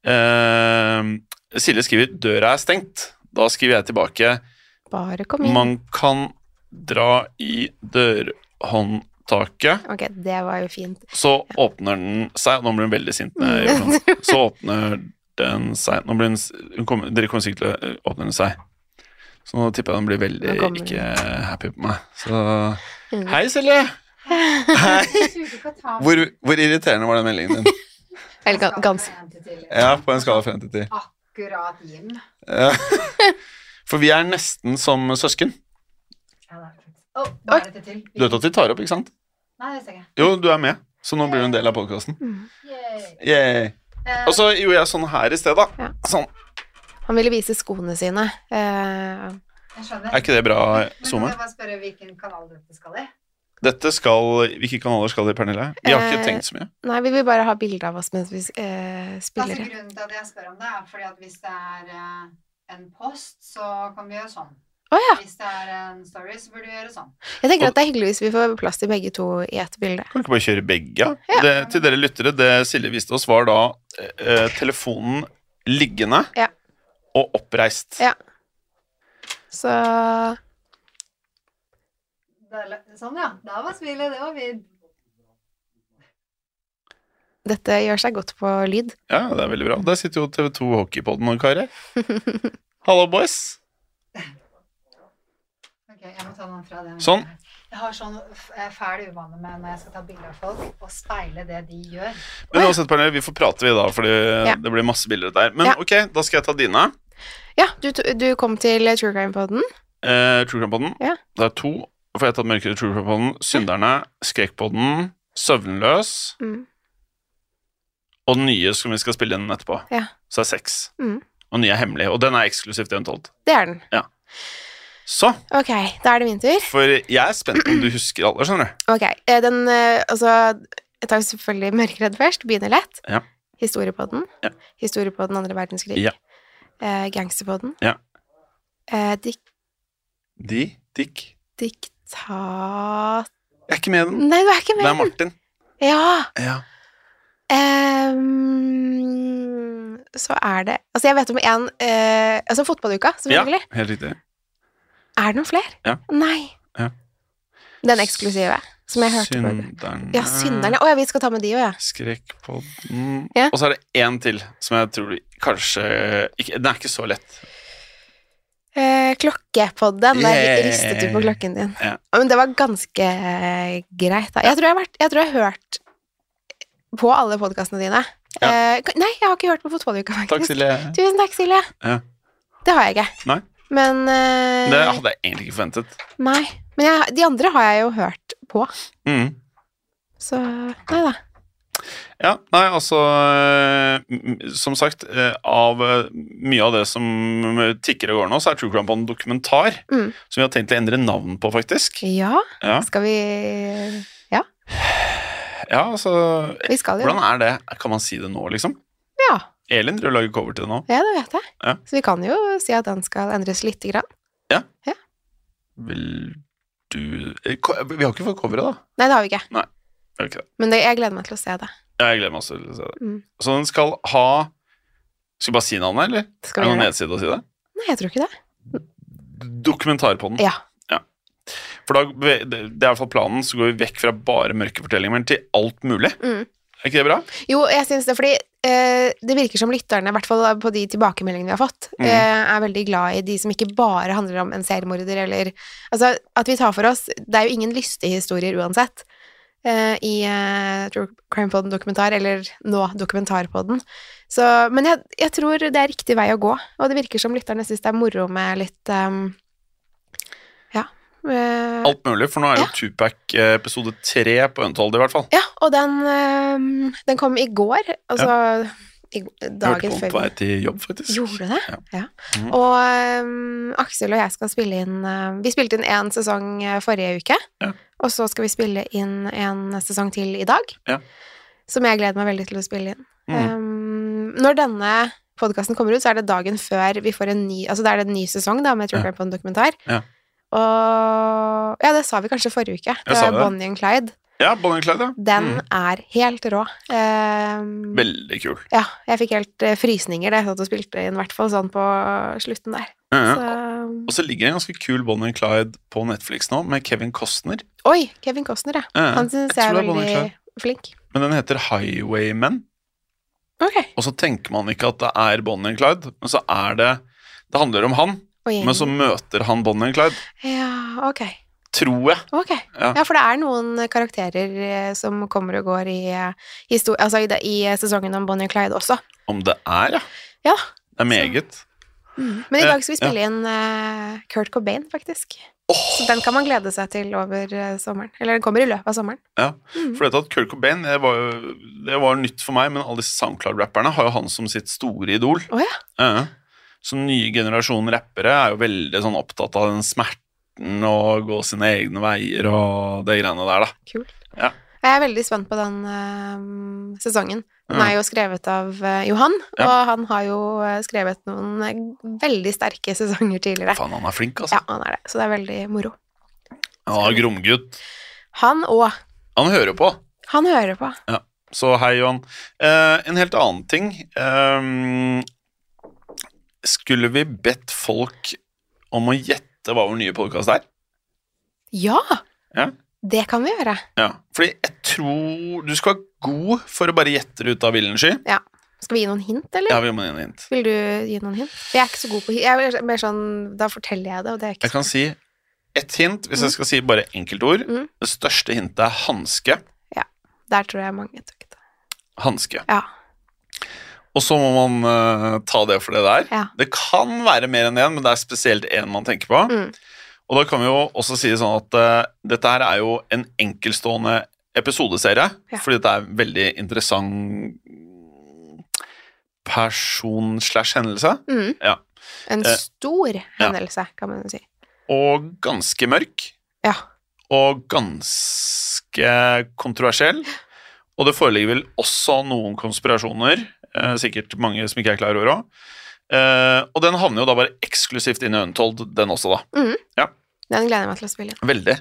Speaker 2: eh, Silje skriver 'Døra er stengt'. Da skriver jeg tilbake
Speaker 3: Bare kom inn.
Speaker 2: Man kan dra i dørhåndtaket,
Speaker 3: Ok, det var jo fint.
Speaker 2: så åpner den seg og Nå blir hun veldig sint. når jeg gjør sånn. Så åpner den seg nå blir hun, s- hun kommer, Dere kommer sikkert til å øh, åpne den seg. Så nå tipper jeg den blir veldig
Speaker 3: Nå kommer den.
Speaker 2: ikke happy på meg. Så
Speaker 3: Mm.
Speaker 2: Hei, Silje! Hei! Hvor, hvor irriterende var den meldingen din?
Speaker 3: Eller gan- ganske
Speaker 2: Ja, på en skala fra 1 til 10.
Speaker 4: Akkurat Jim.
Speaker 2: Ja. For vi er nesten som søsken.
Speaker 4: Ja, det er perfekt. Å, nå er det til.
Speaker 2: Du vet at vi tar opp, ikke sant?
Speaker 4: Nei, det ser jeg.
Speaker 2: Jo, du er med. Så nå blir du en del av podkasten. Yay. Og så gjorde jeg sånn her i sted, da.
Speaker 3: Ja.
Speaker 2: Sånn.
Speaker 3: Han ville vise skoene sine. Eh,
Speaker 4: Jeg skjønner.
Speaker 2: Er ikke det bra,
Speaker 4: Men kan
Speaker 2: SoMe?
Speaker 4: jeg bare spørre hvilken kanal dette skal i?
Speaker 2: Dette skal Hvilke kanaler skal det, Pernille? Vi har ikke
Speaker 3: Eh,
Speaker 2: tenkt så mye.
Speaker 3: nei, vi vil bare ha bilde av oss mens vi eh,
Speaker 4: Altså,
Speaker 3: spiller.
Speaker 4: grunnen til at jeg spør om det, er fordi at hvis det er eh, en post, så kan vi gjøre sånn.
Speaker 3: Å ja!
Speaker 4: Hvis det er en story, så burde vi gjøre sånn.
Speaker 3: Jeg tenker at det er hyggelig hvis vi får plass til begge to i ett bilde.
Speaker 2: Kan vi ikke bare kjøre begge?
Speaker 3: Ja.
Speaker 2: Det, til dere lyttere, det Silje viste oss, var da eh, telefonen liggende
Speaker 3: Ja.
Speaker 2: og oppreist.
Speaker 3: Ja. Så
Speaker 4: Det er, le- sånn, ja. Da var smilet, det var vi.
Speaker 3: dette gjør seg godt på lyd.
Speaker 2: Ja, det er veldig bra. Der sitter jo TV2 Hockeypodden og karer. Hallo, boys.
Speaker 4: Ok, jeg må ta noen fra den.
Speaker 2: Sånn.
Speaker 4: Jeg har sånn f- eh, fæl uvane med når jeg skal ta bilder av folk, å speile det de gjør.
Speaker 2: Men uansett, Pernille, vi får prate vi da, fordi det blir masse bilder der. Men
Speaker 3: Ja.
Speaker 2: ok, da skal jeg ta dine.
Speaker 3: Ja, du, du kom til True Crime-poden.
Speaker 2: Eh, True Crime-podden.
Speaker 3: Ja.
Speaker 2: Det er to. For jeg har tatt Mørkere True Crime-podden, Synderne, Skrekkpodden, Søvnløs
Speaker 3: Mm.
Speaker 2: og den nye som vi skal spille inn etterpå.
Speaker 3: Ja.
Speaker 2: Så er seks.
Speaker 3: Mm.
Speaker 2: Og den nye er hemmelig, og den er eksklusivt eventuelt.
Speaker 3: Det er den.
Speaker 2: Så,
Speaker 3: Ok, da er det min tur.
Speaker 2: for jeg er spent på om du husker alle, skjønner du.
Speaker 3: Ok, eh, den eh, Altså, jeg tar jo selvfølgelig Mørkeredd først. Begynner lett.
Speaker 2: Ja.
Speaker 3: Historiepodden.
Speaker 2: Ja.
Speaker 3: Historiepodden andre verdenskrig.
Speaker 2: Ja.
Speaker 3: Eh, gangsterpodden.
Speaker 2: Ja.
Speaker 3: Eh, dik
Speaker 2: De, Dick.
Speaker 3: diktat...
Speaker 2: Jeg er ikke med i den.
Speaker 3: Nei, du er ikke
Speaker 2: Det er
Speaker 3: med!
Speaker 2: Martin.
Speaker 3: Ja!
Speaker 2: Ja.
Speaker 3: Ehm, så er det Altså, jeg vet om én Altså fotballuka,
Speaker 2: ja,
Speaker 3: selvfølgelig.
Speaker 2: helt riktig.
Speaker 3: Er det noen flere?
Speaker 2: Ja.
Speaker 3: Nei.
Speaker 2: Ja.
Speaker 3: Den eksklusive som jeg hørte på.
Speaker 2: Synderne.
Speaker 3: Ja, Synderne. Å ja, vi skal ta med de òg, ja.
Speaker 2: Skrekkpodden
Speaker 3: Ja.
Speaker 2: Og så er det én til som jeg tror du kanskje ikke, Den er ikke så lett.
Speaker 3: Eh, klokkepodden. Der
Speaker 2: Yeah.
Speaker 3: ristet du på klokken din.
Speaker 2: Ja.
Speaker 3: Men det var ganske eh, greit, da. Jeg tror jeg har, vært, jeg tror jeg har hørt på alle podkastene dine.
Speaker 2: Ja.
Speaker 3: Eh, kan- nei, jeg har ikke hørt på fotballuka, faktisk.
Speaker 2: Takk, Silje.
Speaker 3: Tusen takk, Silje.
Speaker 2: Ja.
Speaker 3: Det har jeg ikke.
Speaker 2: Nei.
Speaker 3: Men eh,
Speaker 2: Det hadde jeg egentlig ikke forventet.
Speaker 3: Nei. Men jeg, de andre har jeg jo hørt på,
Speaker 2: Mm.
Speaker 3: så Nei da.
Speaker 2: Ja, nei, altså eh, m- Som sagt, eh, av eh, mye av det som eh, tikker og går nå, så er True Crime på en dokumentar
Speaker 3: Mm.
Speaker 2: som vi har tenkt å endre navn på, faktisk.
Speaker 3: Ja,
Speaker 2: Ja,
Speaker 3: skal vi
Speaker 2: ja altså eh,
Speaker 3: Vi skal jo
Speaker 2: Hvordan er det? Kan man si det nå, liksom?
Speaker 3: Ja.
Speaker 2: Elin driver og lager cover til det nå.
Speaker 3: ja, det vet jeg.
Speaker 2: Ja.
Speaker 3: Så vi kan jo si at den skal endres lite grann.
Speaker 2: Vil du eh, ko- Vi har ikke fått coveret, da.
Speaker 3: Nei, det har vi ikke.
Speaker 2: Er det ikke det?
Speaker 3: Men det, jeg gleder meg til å se det.
Speaker 2: Ja, jeg gleder meg også til å se det.
Speaker 3: Mm.
Speaker 2: Så den skal ha Skal vi bare si navnet, eller?
Speaker 3: Skal
Speaker 2: er
Speaker 3: vi
Speaker 2: det noen
Speaker 3: gjøre det?
Speaker 2: nedside å si det?
Speaker 3: Nei, jeg tror ikke det.
Speaker 2: Dokumentar på den.
Speaker 3: Ja.
Speaker 2: For da, det det er i hvert fall planen, så går vi vekk fra bare mørke fortellinger til alt mulig.
Speaker 3: Mm.
Speaker 2: Er ikke det bra?
Speaker 3: Jo, jeg syns det, fordi eh, det virker som lytterne, i hvert fall på de tilbakemeldingene vi har fått,
Speaker 2: Mm.
Speaker 3: eh, er veldig glad i de som ikke bare handler om en seriemorder eller Altså, at vi tar for oss Det er jo ingen lystige historier uansett. eh, I eh, True Crime Poden dokumentar, eller nå Dokumentarpodden. Så, men jeg, jeg tror det er riktig vei å gå, og det virker som lytterne syns det er moro med litt ehm, Ja. eh,
Speaker 2: Alt mulig, for nå er jo Tupac eh, episode tre på Untold, i hvert fall.
Speaker 3: Ja, og den, øhm, den kom i går, altså i,
Speaker 2: Jeg hørte
Speaker 3: dagen
Speaker 2: på den på
Speaker 3: før.
Speaker 2: vei til jobb, faktisk.
Speaker 3: Gjorde du det?
Speaker 2: Ja.
Speaker 3: Ja.
Speaker 2: Mhm.
Speaker 3: Og øhm, Aksel og jeg skal spille inn øhm, Vi spilte inn én sesong øh, forrige uke,
Speaker 2: Ja.
Speaker 3: og så skal vi spille inn en sesong til i dag,
Speaker 2: Ja.
Speaker 3: som jeg gleder meg veldig til å spille inn.
Speaker 2: Mm.
Speaker 3: Øhm, når denne podkasten kommer ut, så er det dagen før vi får en ny Altså da er det en ny sesong da, med True
Speaker 2: Ja.
Speaker 3: Crime på en dokumentar.
Speaker 2: Ja.
Speaker 3: Og Ja, det sa vi kanskje forrige uke. Det
Speaker 2: sa
Speaker 3: var
Speaker 2: vi det.
Speaker 3: Bonnie and Clyde.
Speaker 2: Ja, Bonnie Clyde, ja.
Speaker 3: Den
Speaker 2: Mm.
Speaker 3: er helt rå. Ehm,
Speaker 2: Veldig kul.
Speaker 3: ja, jeg fikk helt eh, frysninger da jeg satt og spilte inn, i hvert fall sånn på slutten der.
Speaker 2: Ja, ja.
Speaker 3: Så,
Speaker 2: Og så ligger det en ganske kul Bonnie Clyde på Netflix nå, med Kevin Costner.
Speaker 3: oi, Kevin Costner, ja.
Speaker 2: Ja, ja.
Speaker 3: Han syns jeg
Speaker 2: tror
Speaker 3: er
Speaker 2: det er Bonnie
Speaker 3: veldig flink.
Speaker 2: Men den heter Highwaymen.
Speaker 3: Ok.
Speaker 2: Og så tenker man ikke at det er Bonnie and Clyde, men så er det Det handler om han,
Speaker 3: Og gjengen.
Speaker 2: men så møter han Bonnie and Clyde.
Speaker 3: Ja, ok.
Speaker 2: Tror jeg.
Speaker 3: Ok.
Speaker 2: Ja.
Speaker 3: Ja, for det er noen karakterer eh, som kommer og går i, eh, histor- altså i, det- i eh, sesongen om Bonnie og Clyde også.
Speaker 2: Om det er, ja.
Speaker 3: Ja.
Speaker 2: Det er meget.
Speaker 3: Men i
Speaker 2: Eh,
Speaker 3: dag skal vi spille inn eh, Kurt Cobain, faktisk. Så den kan man glede seg til over eh, sommeren. Eller den kommer i løpet av sommeren.
Speaker 2: Ja,
Speaker 3: Mm.
Speaker 2: for dette at Kurt Cobain det var, jo, det var nytt for meg, men alle disse SoundCloud-rapperne har jo han som sitt store idol.
Speaker 3: Å ja.
Speaker 2: Ja. Så den nye generasjonen rappere er jo veldig sånn opptatt av den smerten og gå sine egne veier og det greiene der, da.
Speaker 3: Kult.
Speaker 2: Ja.
Speaker 3: Jeg er veldig spent på den eh, sesongen. Den
Speaker 2: Ja.
Speaker 3: er jo skrevet av eh, Johan,
Speaker 2: Ja.
Speaker 3: og han har jo eh, skrevet noen eh, veldig sterke sesonger tidligere.
Speaker 2: Faen, han er flink, altså.
Speaker 3: Ja, han er det. Så det er veldig moro.
Speaker 2: Han er gromgutt.
Speaker 3: Han òg.
Speaker 2: Han hører på.
Speaker 3: Han hører på.
Speaker 2: Så hei, Johan. Eh, en helt annen ting. Ehm, skulle vi bedt folk om å gjette hva vår nye podkast er?
Speaker 3: Ja!
Speaker 2: Ja.
Speaker 3: Det kan vi gjøre.
Speaker 2: Ja, fordi jeg tror Du skal være god for å bare gjette det ut av villen sky.
Speaker 3: Skal vi gi noen hint, eller?
Speaker 2: Ja, vi må gi en hint.
Speaker 3: Vil du gi noen hint? Jeg er ikke så god på hint. Jeg er mer sånn, da forteller jeg det, og det er ikke
Speaker 2: Jeg kan si ett hint, hvis jeg skal si bare enkeltord.
Speaker 3: Mm.
Speaker 2: Det største hintet er hanske.
Speaker 3: Der tror jeg mange tok det.
Speaker 2: Hanske.
Speaker 3: Ja.
Speaker 2: Og så må man eh, ta det for det der.
Speaker 3: Ja.
Speaker 2: Det kan være mer enn én, men det er spesielt én man tenker på.
Speaker 3: Mm.
Speaker 2: Og da kan vi jo også si det sånn at eh, dette her er jo en enkeltstående episodeserie,
Speaker 3: Ja.
Speaker 2: fordi dette er en veldig interessant person slash hendelse.
Speaker 3: Mm.
Speaker 2: Ja.
Speaker 3: En
Speaker 2: Eh,
Speaker 3: stor hendelse, kan man jo si.
Speaker 2: Og ganske mørk.
Speaker 3: Ja.
Speaker 2: og ganske kontroversiell. Og det foreligger vel også noen konspirasjoner, eh, sikkert mange som ikke er klar over òg. Eh, og den havner jo da bare eksklusivt inn i Untold, den også, da.
Speaker 3: Den gleder jeg meg til å spille inn.
Speaker 2: Veldig.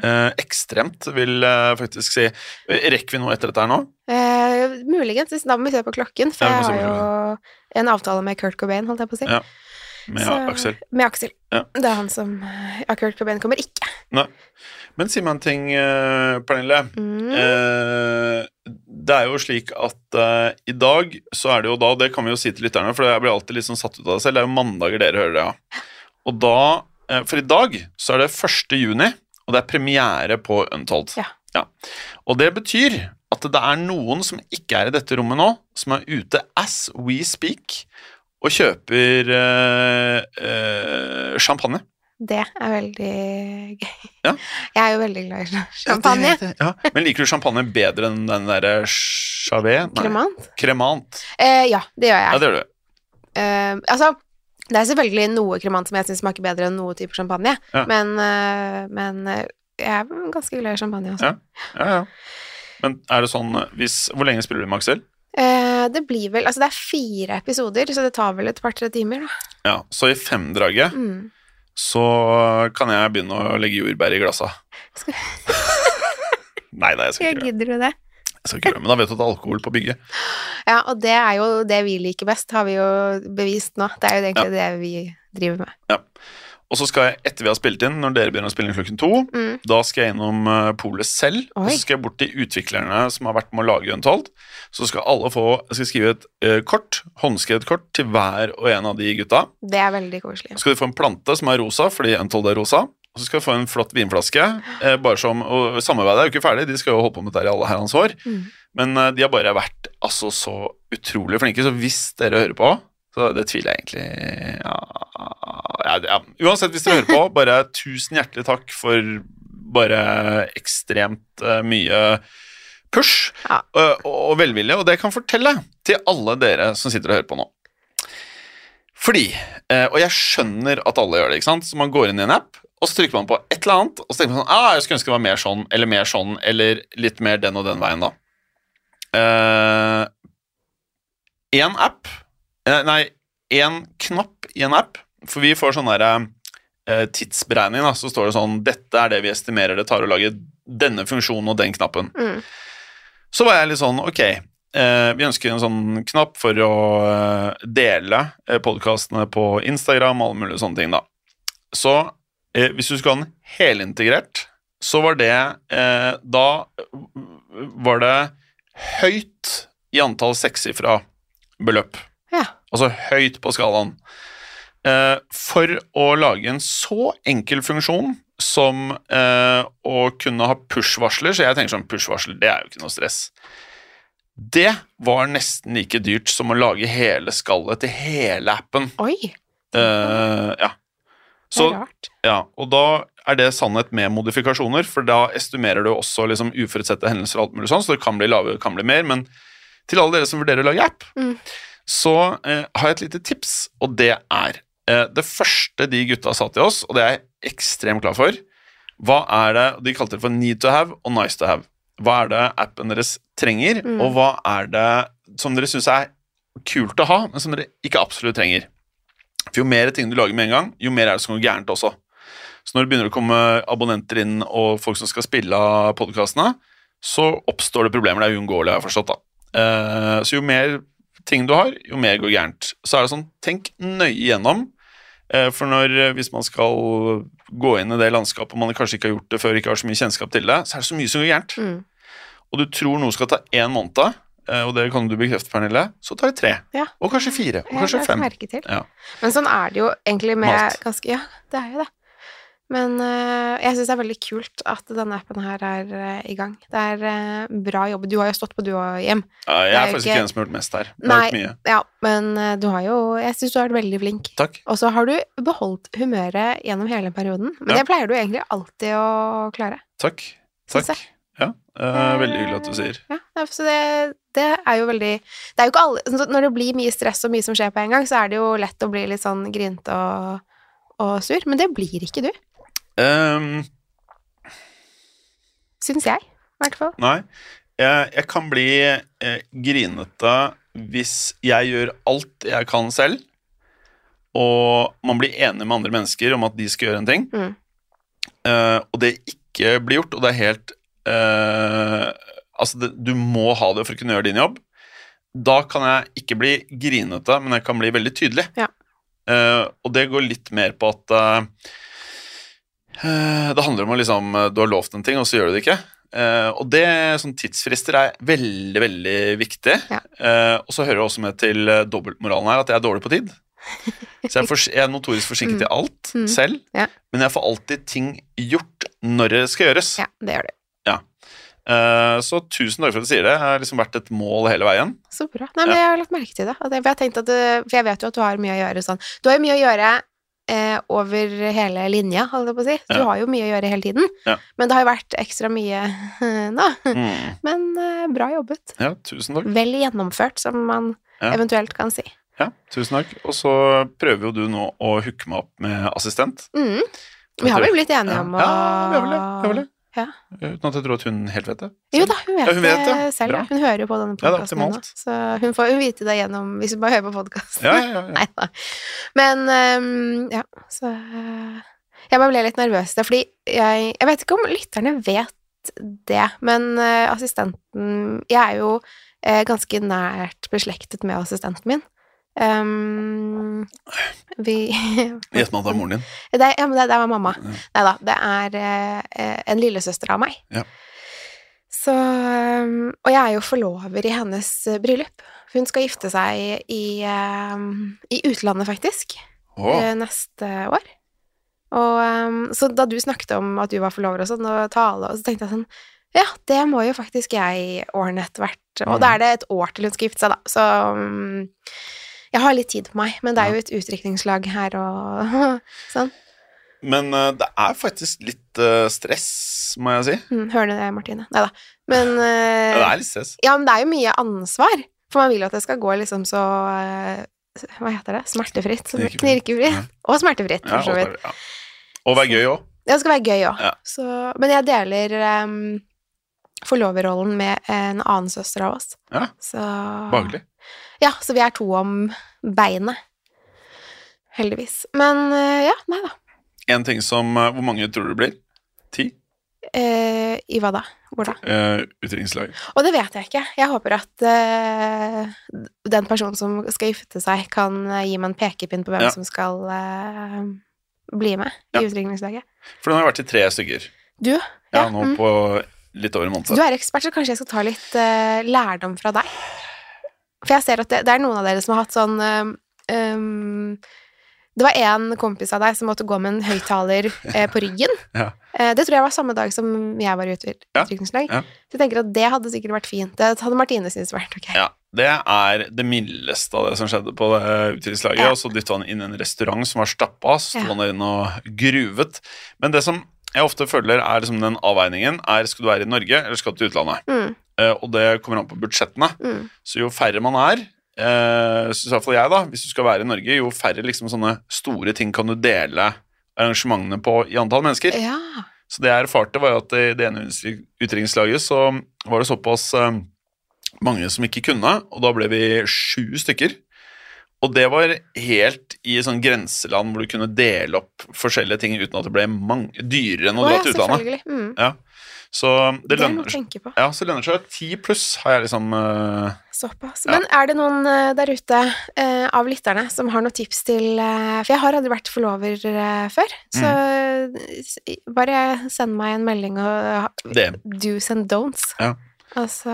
Speaker 2: Eh, ekstremt, vil jeg faktisk si. Rekker vi noe etter dette her nå?
Speaker 3: Eh, muligens. hvis- Da må vi se på klokken, for
Speaker 2: Ja, vi må
Speaker 3: jeg
Speaker 2: se
Speaker 3: har
Speaker 2: på
Speaker 3: jo en avtale med Kurt Cobain, holdt jeg på å si.
Speaker 2: Ja. Med
Speaker 3: Så-
Speaker 2: Aksel.
Speaker 3: Med Aksel.
Speaker 2: Ja.
Speaker 3: Det er han som Ja, Kurt Cobain kommer ikke.
Speaker 2: Men si meg en ting, eh, Pernille.
Speaker 3: Mm.
Speaker 2: Eh, det er jo slik at eh, i dag så er det jo da, og det kan vi jo si til lytterne, for jeg blir alltid litt sånn satt ut av det selv, det er jo mandager dere hører det, ja. Og da, eh, for i dag så er det 1. juni, og det er premiere på Untold.
Speaker 3: Ja.
Speaker 2: Og det betyr at det er noen som ikke er i dette rommet nå, som er ute as we speak, og kjøper eh, eh, champagne.
Speaker 3: Det er veldig gøy.
Speaker 2: Ja.
Speaker 3: Jeg er jo veldig glad i champagne.
Speaker 2: Ja. Men liker du champagne bedre enn den der Chavet? Nei,
Speaker 3: Kremant?
Speaker 2: Kremant.
Speaker 3: Eh, ja, det gjør jeg.
Speaker 2: Ja, det gjør du.
Speaker 3: Eh, altså, det er selvfølgelig noe kremant som jeg syns smaker bedre enn noe type champagne,
Speaker 2: Ja.
Speaker 3: men, eh, men eh, jeg er ganske glad i champagne altså. også.
Speaker 2: Ja. Ja, ja. Men er det sånn hvis, Hvor lenge spiller du med Aksel?
Speaker 3: Eh, det blir vel Altså, det er fire episoder, så det tar vel et par-tre timer, da.
Speaker 2: Ja, så i femdraget
Speaker 3: Mm.
Speaker 2: så kan jeg begynne å legge jordbær i glassa.
Speaker 3: Skal-
Speaker 2: Nei, nei, jeg skal
Speaker 3: Jeg
Speaker 2: ikke gjøre det.
Speaker 3: gidder du det?
Speaker 2: Jeg skal ikke gjøre det. Men da vet du at det er alkohol på bygget.
Speaker 3: Ja, og det er jo det vi liker best, har vi jo bevist nå. Det er jo egentlig det vi driver med.
Speaker 2: Og så skal jeg, etter vi har spilt inn, når dere begynner å spille inn klokken to,
Speaker 3: Mm.
Speaker 2: da skal jeg innom eh, polet selv, og
Speaker 3: Oi.
Speaker 2: så skal jeg bort til utviklerne som har vært med å lage Untold. Så skal alle få Jeg skal skrive et eh, kort, håndskrevet kort, til hver og en av de gutta.
Speaker 3: Det er veldig koselig.
Speaker 2: Så skal du få en plante som er rosa, fordi Untold er rosa. Og så skal du få en flott vinflaske. Eh, bare som, og Samarbeidet er jo ikke ferdig, de skal jo holde på med dette her i alle herrens år.
Speaker 3: Mm.
Speaker 2: Men eh, de har bare vært altså, så utrolig flinke, så hvis dere hører på så det tviler jeg egentlig ja, ja, ja. Uansett, hvis dere hører på, bare tusen hjertelig takk for bare ekstremt eh, mye push
Speaker 3: Ja.
Speaker 2: eh, og, og velvilje. Og det jeg kan fortelle til alle dere som sitter og hører på nå. Fordi, eh, og jeg skjønner at alle gjør det, ikke sant? Så man går inn i en app, og så trykker man på et eller annet, og så tenker man sånn, ah, jeg skulle ønske det var mer sånn, eller mer sånn, eller litt mer den og den veien da. Eh, en app, eh, nei, en knapp i en app, for vi får sånn der eh, tidsberegning da, så står det sånn, dette er det vi estimerer det tar å lage denne funksjonen og den knappen.
Speaker 3: Mm.
Speaker 2: Så var jeg litt sånn, ok, eh, vi ønsker en sånn knapp for å eh, dele eh, podcastene på Instagram og alle mulige sånne ting da. Så eh, hvis du skulle ha den helintegrert, så var det eh, Da var det høyt i antall sekssifra beløp.
Speaker 3: Ja.
Speaker 2: Altså høyt på skalaen. Eh, for å lage en så enkel funksjon som eh, å kunne ha push-varsler, så jeg tenker sånn push-varsler, det er jo ikke noe stress. Det var nesten like dyrt som å lage hele skallet til hele appen.
Speaker 3: Oi,
Speaker 2: Eh, ja.
Speaker 3: det
Speaker 2: Så
Speaker 3: er rart.
Speaker 2: ja, og da er det sannhet med modifikasjoner, for da estimerer du også liksom uforutsette hendelser og alt mulig sånn, så det kan bli lavere, det kan bli mer, men til alle dere som vurderer å lage app,
Speaker 3: Mm.
Speaker 2: så eh, har jeg et lite tips, og det er eh, det første de gutta sa til oss, og det er jeg ekstremt glad for, hva er det, de kalte det for need to have og nice to have. Hva er det appen deres trenger,
Speaker 3: Mm.
Speaker 2: og hva er det som dere syns er kult å ha, men som dere ikke absolutt trenger. For jo mer ting du lager med en gang, jo mer er det som går gærent også. Så når det begynner å komme abonnenter inn og folk som skal spille av podkastene, så oppstår det problemer. Det er uunngåelig, har jeg forstått. da. Eh, så jo mer ting du har, jo mer går gærent. Så er det sånn, tenk nøye igjennom. Eh, For når, eh, hvis man skal gå inn i det landskapet man kanskje ikke har gjort det før, ikke har så mye kjennskap til det, så er det så mye som går gærent.
Speaker 3: Mm.
Speaker 2: Og du tror noe skal ta én måned, eh, og det kan du bekrefte, Pernille, så tar det tre.
Speaker 3: Ja.
Speaker 2: Og kanskje fire. Og kanskje
Speaker 3: jeg
Speaker 2: fem.
Speaker 3: merke til.
Speaker 2: Ja.
Speaker 3: Men sånn er det jo egentlig med
Speaker 2: Mat.
Speaker 3: ganske Ja, det er jo det. Men eh, jeg syns det er veldig kult at denne appen her er eh, i gang. Det er eh, bra jobb. Du har jo stått på, du òg, Jim.
Speaker 2: Ja, Jeg er
Speaker 3: Det er
Speaker 2: faktisk
Speaker 3: ikke-
Speaker 2: ikke den som har gjort mest her. Det
Speaker 3: Nei.
Speaker 2: har gjort mye.
Speaker 3: Ja, men eh, du har jo Jeg syns du har vært veldig flink.
Speaker 2: Takk.
Speaker 3: Og så har du beholdt humøret gjennom hele perioden. Men
Speaker 2: Ja.
Speaker 3: det pleier du egentlig alltid å klare.
Speaker 2: Takk.
Speaker 3: Syns
Speaker 2: Takk. Ja, eh, veldig hyggelig at du sier.
Speaker 3: Ja, ja, så det, det er jo veldig Det er jo ikke alle sånn at Når det blir mye stress og mye som skjer på en gang, så er det jo lett å bli litt sånn grinete og, og sur. Men det blir ikke du,
Speaker 2: Ehm,
Speaker 3: syns jeg. I hvert fall.
Speaker 2: Nei. Jeg, jeg kan bli eh, grinete hvis jeg gjør alt jeg kan selv, og man blir enig med andre mennesker om at de skal gjøre en ting,
Speaker 3: Mm.
Speaker 2: eh, og det ikke blir gjort, og det er helt eh, Altså, det, du må ha det for å kunne gjøre din jobb. Da kan jeg ikke bli grinete, men jeg kan bli veldig tydelig.
Speaker 3: Ja.
Speaker 2: Eh, og det går litt mer på at eh, eh, det handler om å liksom eh, Du har lovt en ting, og så gjør du det ikke. Eh, og det, sånn tidsfrister er veldig, veldig viktig.
Speaker 3: Ja.
Speaker 2: Eh, og så hører det også med til eh, dobbeltmoralen her at jeg er dårlig på tid. Så jeg, er fors- jeg er notorisk forsinket i alt
Speaker 3: Mm.
Speaker 2: selv,
Speaker 3: Ja.
Speaker 2: men jeg får alltid ting gjort når det skal gjøres.
Speaker 3: Ja, det gjør du.
Speaker 2: Eh, så tusen takk for at du sier det. Det har liksom vært et mål hele veien.
Speaker 3: Så bra. Nei, men jeg har lagt merke til det. At jeg, for, jeg tenkte at du, for jeg vet jo at du har mye å gjøre sånn. Du har jo mye å gjøre eh, over hele linja, holdt jeg på å si. Du
Speaker 2: Ja.
Speaker 3: har jo mye å gjøre hele tiden.
Speaker 2: Ja.
Speaker 3: Men det har jo vært ekstra mye nå.
Speaker 2: Mm.
Speaker 3: Men eh, bra jobbet.
Speaker 2: Ja, tusen takk.
Speaker 3: Vel gjennomført, som man
Speaker 2: Ja.
Speaker 3: eventuelt kan si.
Speaker 2: Ja, tusen takk. Og så prøver jo du nå å hooke meg opp med assistent.
Speaker 3: Mm. Vi har vel blitt enige
Speaker 2: Ja,
Speaker 3: om å
Speaker 2: ja vi har vel det. Vi har vel det.
Speaker 3: Ja.
Speaker 2: Uten at jeg tror at hun helt vet det.
Speaker 3: Jo da, hun vet,
Speaker 2: Ja, hun vet
Speaker 3: det
Speaker 2: det.
Speaker 3: selv.
Speaker 2: Bra.
Speaker 3: ja. Hun hører jo på denne
Speaker 2: Ja, det er
Speaker 3: podkasten nå.
Speaker 2: optimalt.
Speaker 3: Så hun får jo vite det gjennom Hvis hun bare hører på podkasten.
Speaker 2: Ja, ja, ja.
Speaker 3: Nei da. Men ehm, ja, så eh, Jeg bare ble litt nervøs der, fordi jeg Jeg vet ikke om lytterne vet det, men eh, assistenten Jeg er jo eh, ganske nært beslektet med assistenten min. Ehm, vi
Speaker 2: Gjett meg at det er moren din.
Speaker 3: det, er- ja, men det, det var mamma.
Speaker 2: Ja.
Speaker 3: Nei da, det er eh, eh, en lillesøster av meg.
Speaker 2: Ja.
Speaker 3: Så um, Og jeg er jo forlover i hennes eh, bryllup. Hun skal gifte seg i, um, i utlandet, faktisk,
Speaker 2: Åh,
Speaker 3: eh, neste år. Og um, så da du snakket om at du var forlover og sånn, og tale, og så tenkte jeg sånn Ja, det må jo faktisk jeg ordne etter hvert. Og
Speaker 2: Mm.
Speaker 3: da er det et år til hun skal gifte seg, da. Så um, jeg har litt tid på meg, men det er jo et utdrikningslag her og sånn.
Speaker 2: Men eh, det er faktisk litt eh, stress, må jeg si.
Speaker 3: Mm, hører du det, Martine? Nei da. Men, eh,
Speaker 2: Ja, det er litt stress.
Speaker 3: ja, men det er jo mye ansvar. For man vil jo at det skal gå liksom så eh, Hva heter det? Smertefritt. som-
Speaker 2: Knirkefritt.
Speaker 3: Knirkefritt.
Speaker 2: Ja.
Speaker 3: Og smertefritt,
Speaker 2: Ja,
Speaker 3: Eh, for så
Speaker 2: og
Speaker 3: vidt.
Speaker 2: det- ja. Og være gøy òg.
Speaker 3: Det skal være gøy
Speaker 2: Ja.
Speaker 3: òg. Så Men jeg deler em, forloverrollen med en annen søster av oss.
Speaker 2: Ja.
Speaker 3: Så
Speaker 2: Behagelig.
Speaker 3: Ja, så vi er to om beinet. Heldigvis. Men eh, ja, nei da.
Speaker 2: En ting som eh, Hvor mange tror du det blir? Ti?
Speaker 3: Eh, I hva da? Hvor da?
Speaker 2: Uh, Utdrikningslag.
Speaker 3: Og det vet jeg ikke. Jeg håper at eh, den personen som skal gifte seg, kan eh, gi meg en pekepinn på hvem
Speaker 2: Ja.
Speaker 3: som skal eh, bli med
Speaker 2: Ja.
Speaker 3: i utdrikningslaget.
Speaker 2: For den har vært i tre stykker.
Speaker 3: Du?
Speaker 2: Ja,
Speaker 3: Ja,
Speaker 2: nå
Speaker 3: mm.
Speaker 2: på litt over en måned.
Speaker 3: Så du er ekspert, så kanskje jeg skal ta litt eh, lærdom fra deg? For jeg ser at det, det er noen av dere som har hatt sånn eh, um, Det var en kompis av deg som måtte gå med en høyttaler eh, på ryggen.
Speaker 2: Ja.
Speaker 3: Eh, det tror jeg var samme dag som jeg var i ut-
Speaker 2: Ja,
Speaker 3: utdrikningslag.
Speaker 2: ja.
Speaker 3: Så jeg tenker at det hadde sikkert vært fint. Det hadde Martine syntes vært ok.
Speaker 2: Ja, Det er det mildeste av det som skjedde på det utdrikningslaget.
Speaker 3: Ja.
Speaker 2: Og så dytta han inn en restaurant som var stappa, så sto
Speaker 3: Ja.
Speaker 2: han der inne og gruvet. Men det som jeg ofte føler er liksom den avveiningen, er skal du være i Norge, eller skal du til utlandet?
Speaker 3: Mm,
Speaker 2: Eh, og det kommer an på budsjettene.
Speaker 3: mm. Så
Speaker 2: Så jo færre man er, eh, synes i hvert fall jeg da, hvis du skal være i Norge, jo færre liksom sånne store ting kan du dele arrangementene på i antall mennesker.
Speaker 3: Ja.
Speaker 2: Så det jeg erfarte, var jo at i det ene utdrikningslaget så var det såpass eh, mange som ikke kunne, og da ble vi sju stykker. Og det var helt i sånn grenseland hvor du kunne dele opp forskjellige ting uten at det ble mange, dyrere enn å
Speaker 3: Å,
Speaker 2: dra
Speaker 3: ja,
Speaker 2: til utlandet.
Speaker 3: selvfølgelig. Mm.
Speaker 2: Ja. Så
Speaker 3: Det,
Speaker 2: det
Speaker 3: er noe
Speaker 2: lønner,
Speaker 3: å tenke på.
Speaker 2: ja, så det lønner seg. Ti pluss har jeg liksom eh,
Speaker 3: Såpass.
Speaker 2: Ja.
Speaker 3: Men er det noen eh, der ute eh, av lytterne som har noen tips til eh, For jeg har aldri vært forlover eh, før, så
Speaker 2: Mm.
Speaker 3: s- bare send meg en melding og ha-
Speaker 2: det.
Speaker 3: do's and don'ts.
Speaker 2: Ja.
Speaker 3: Altså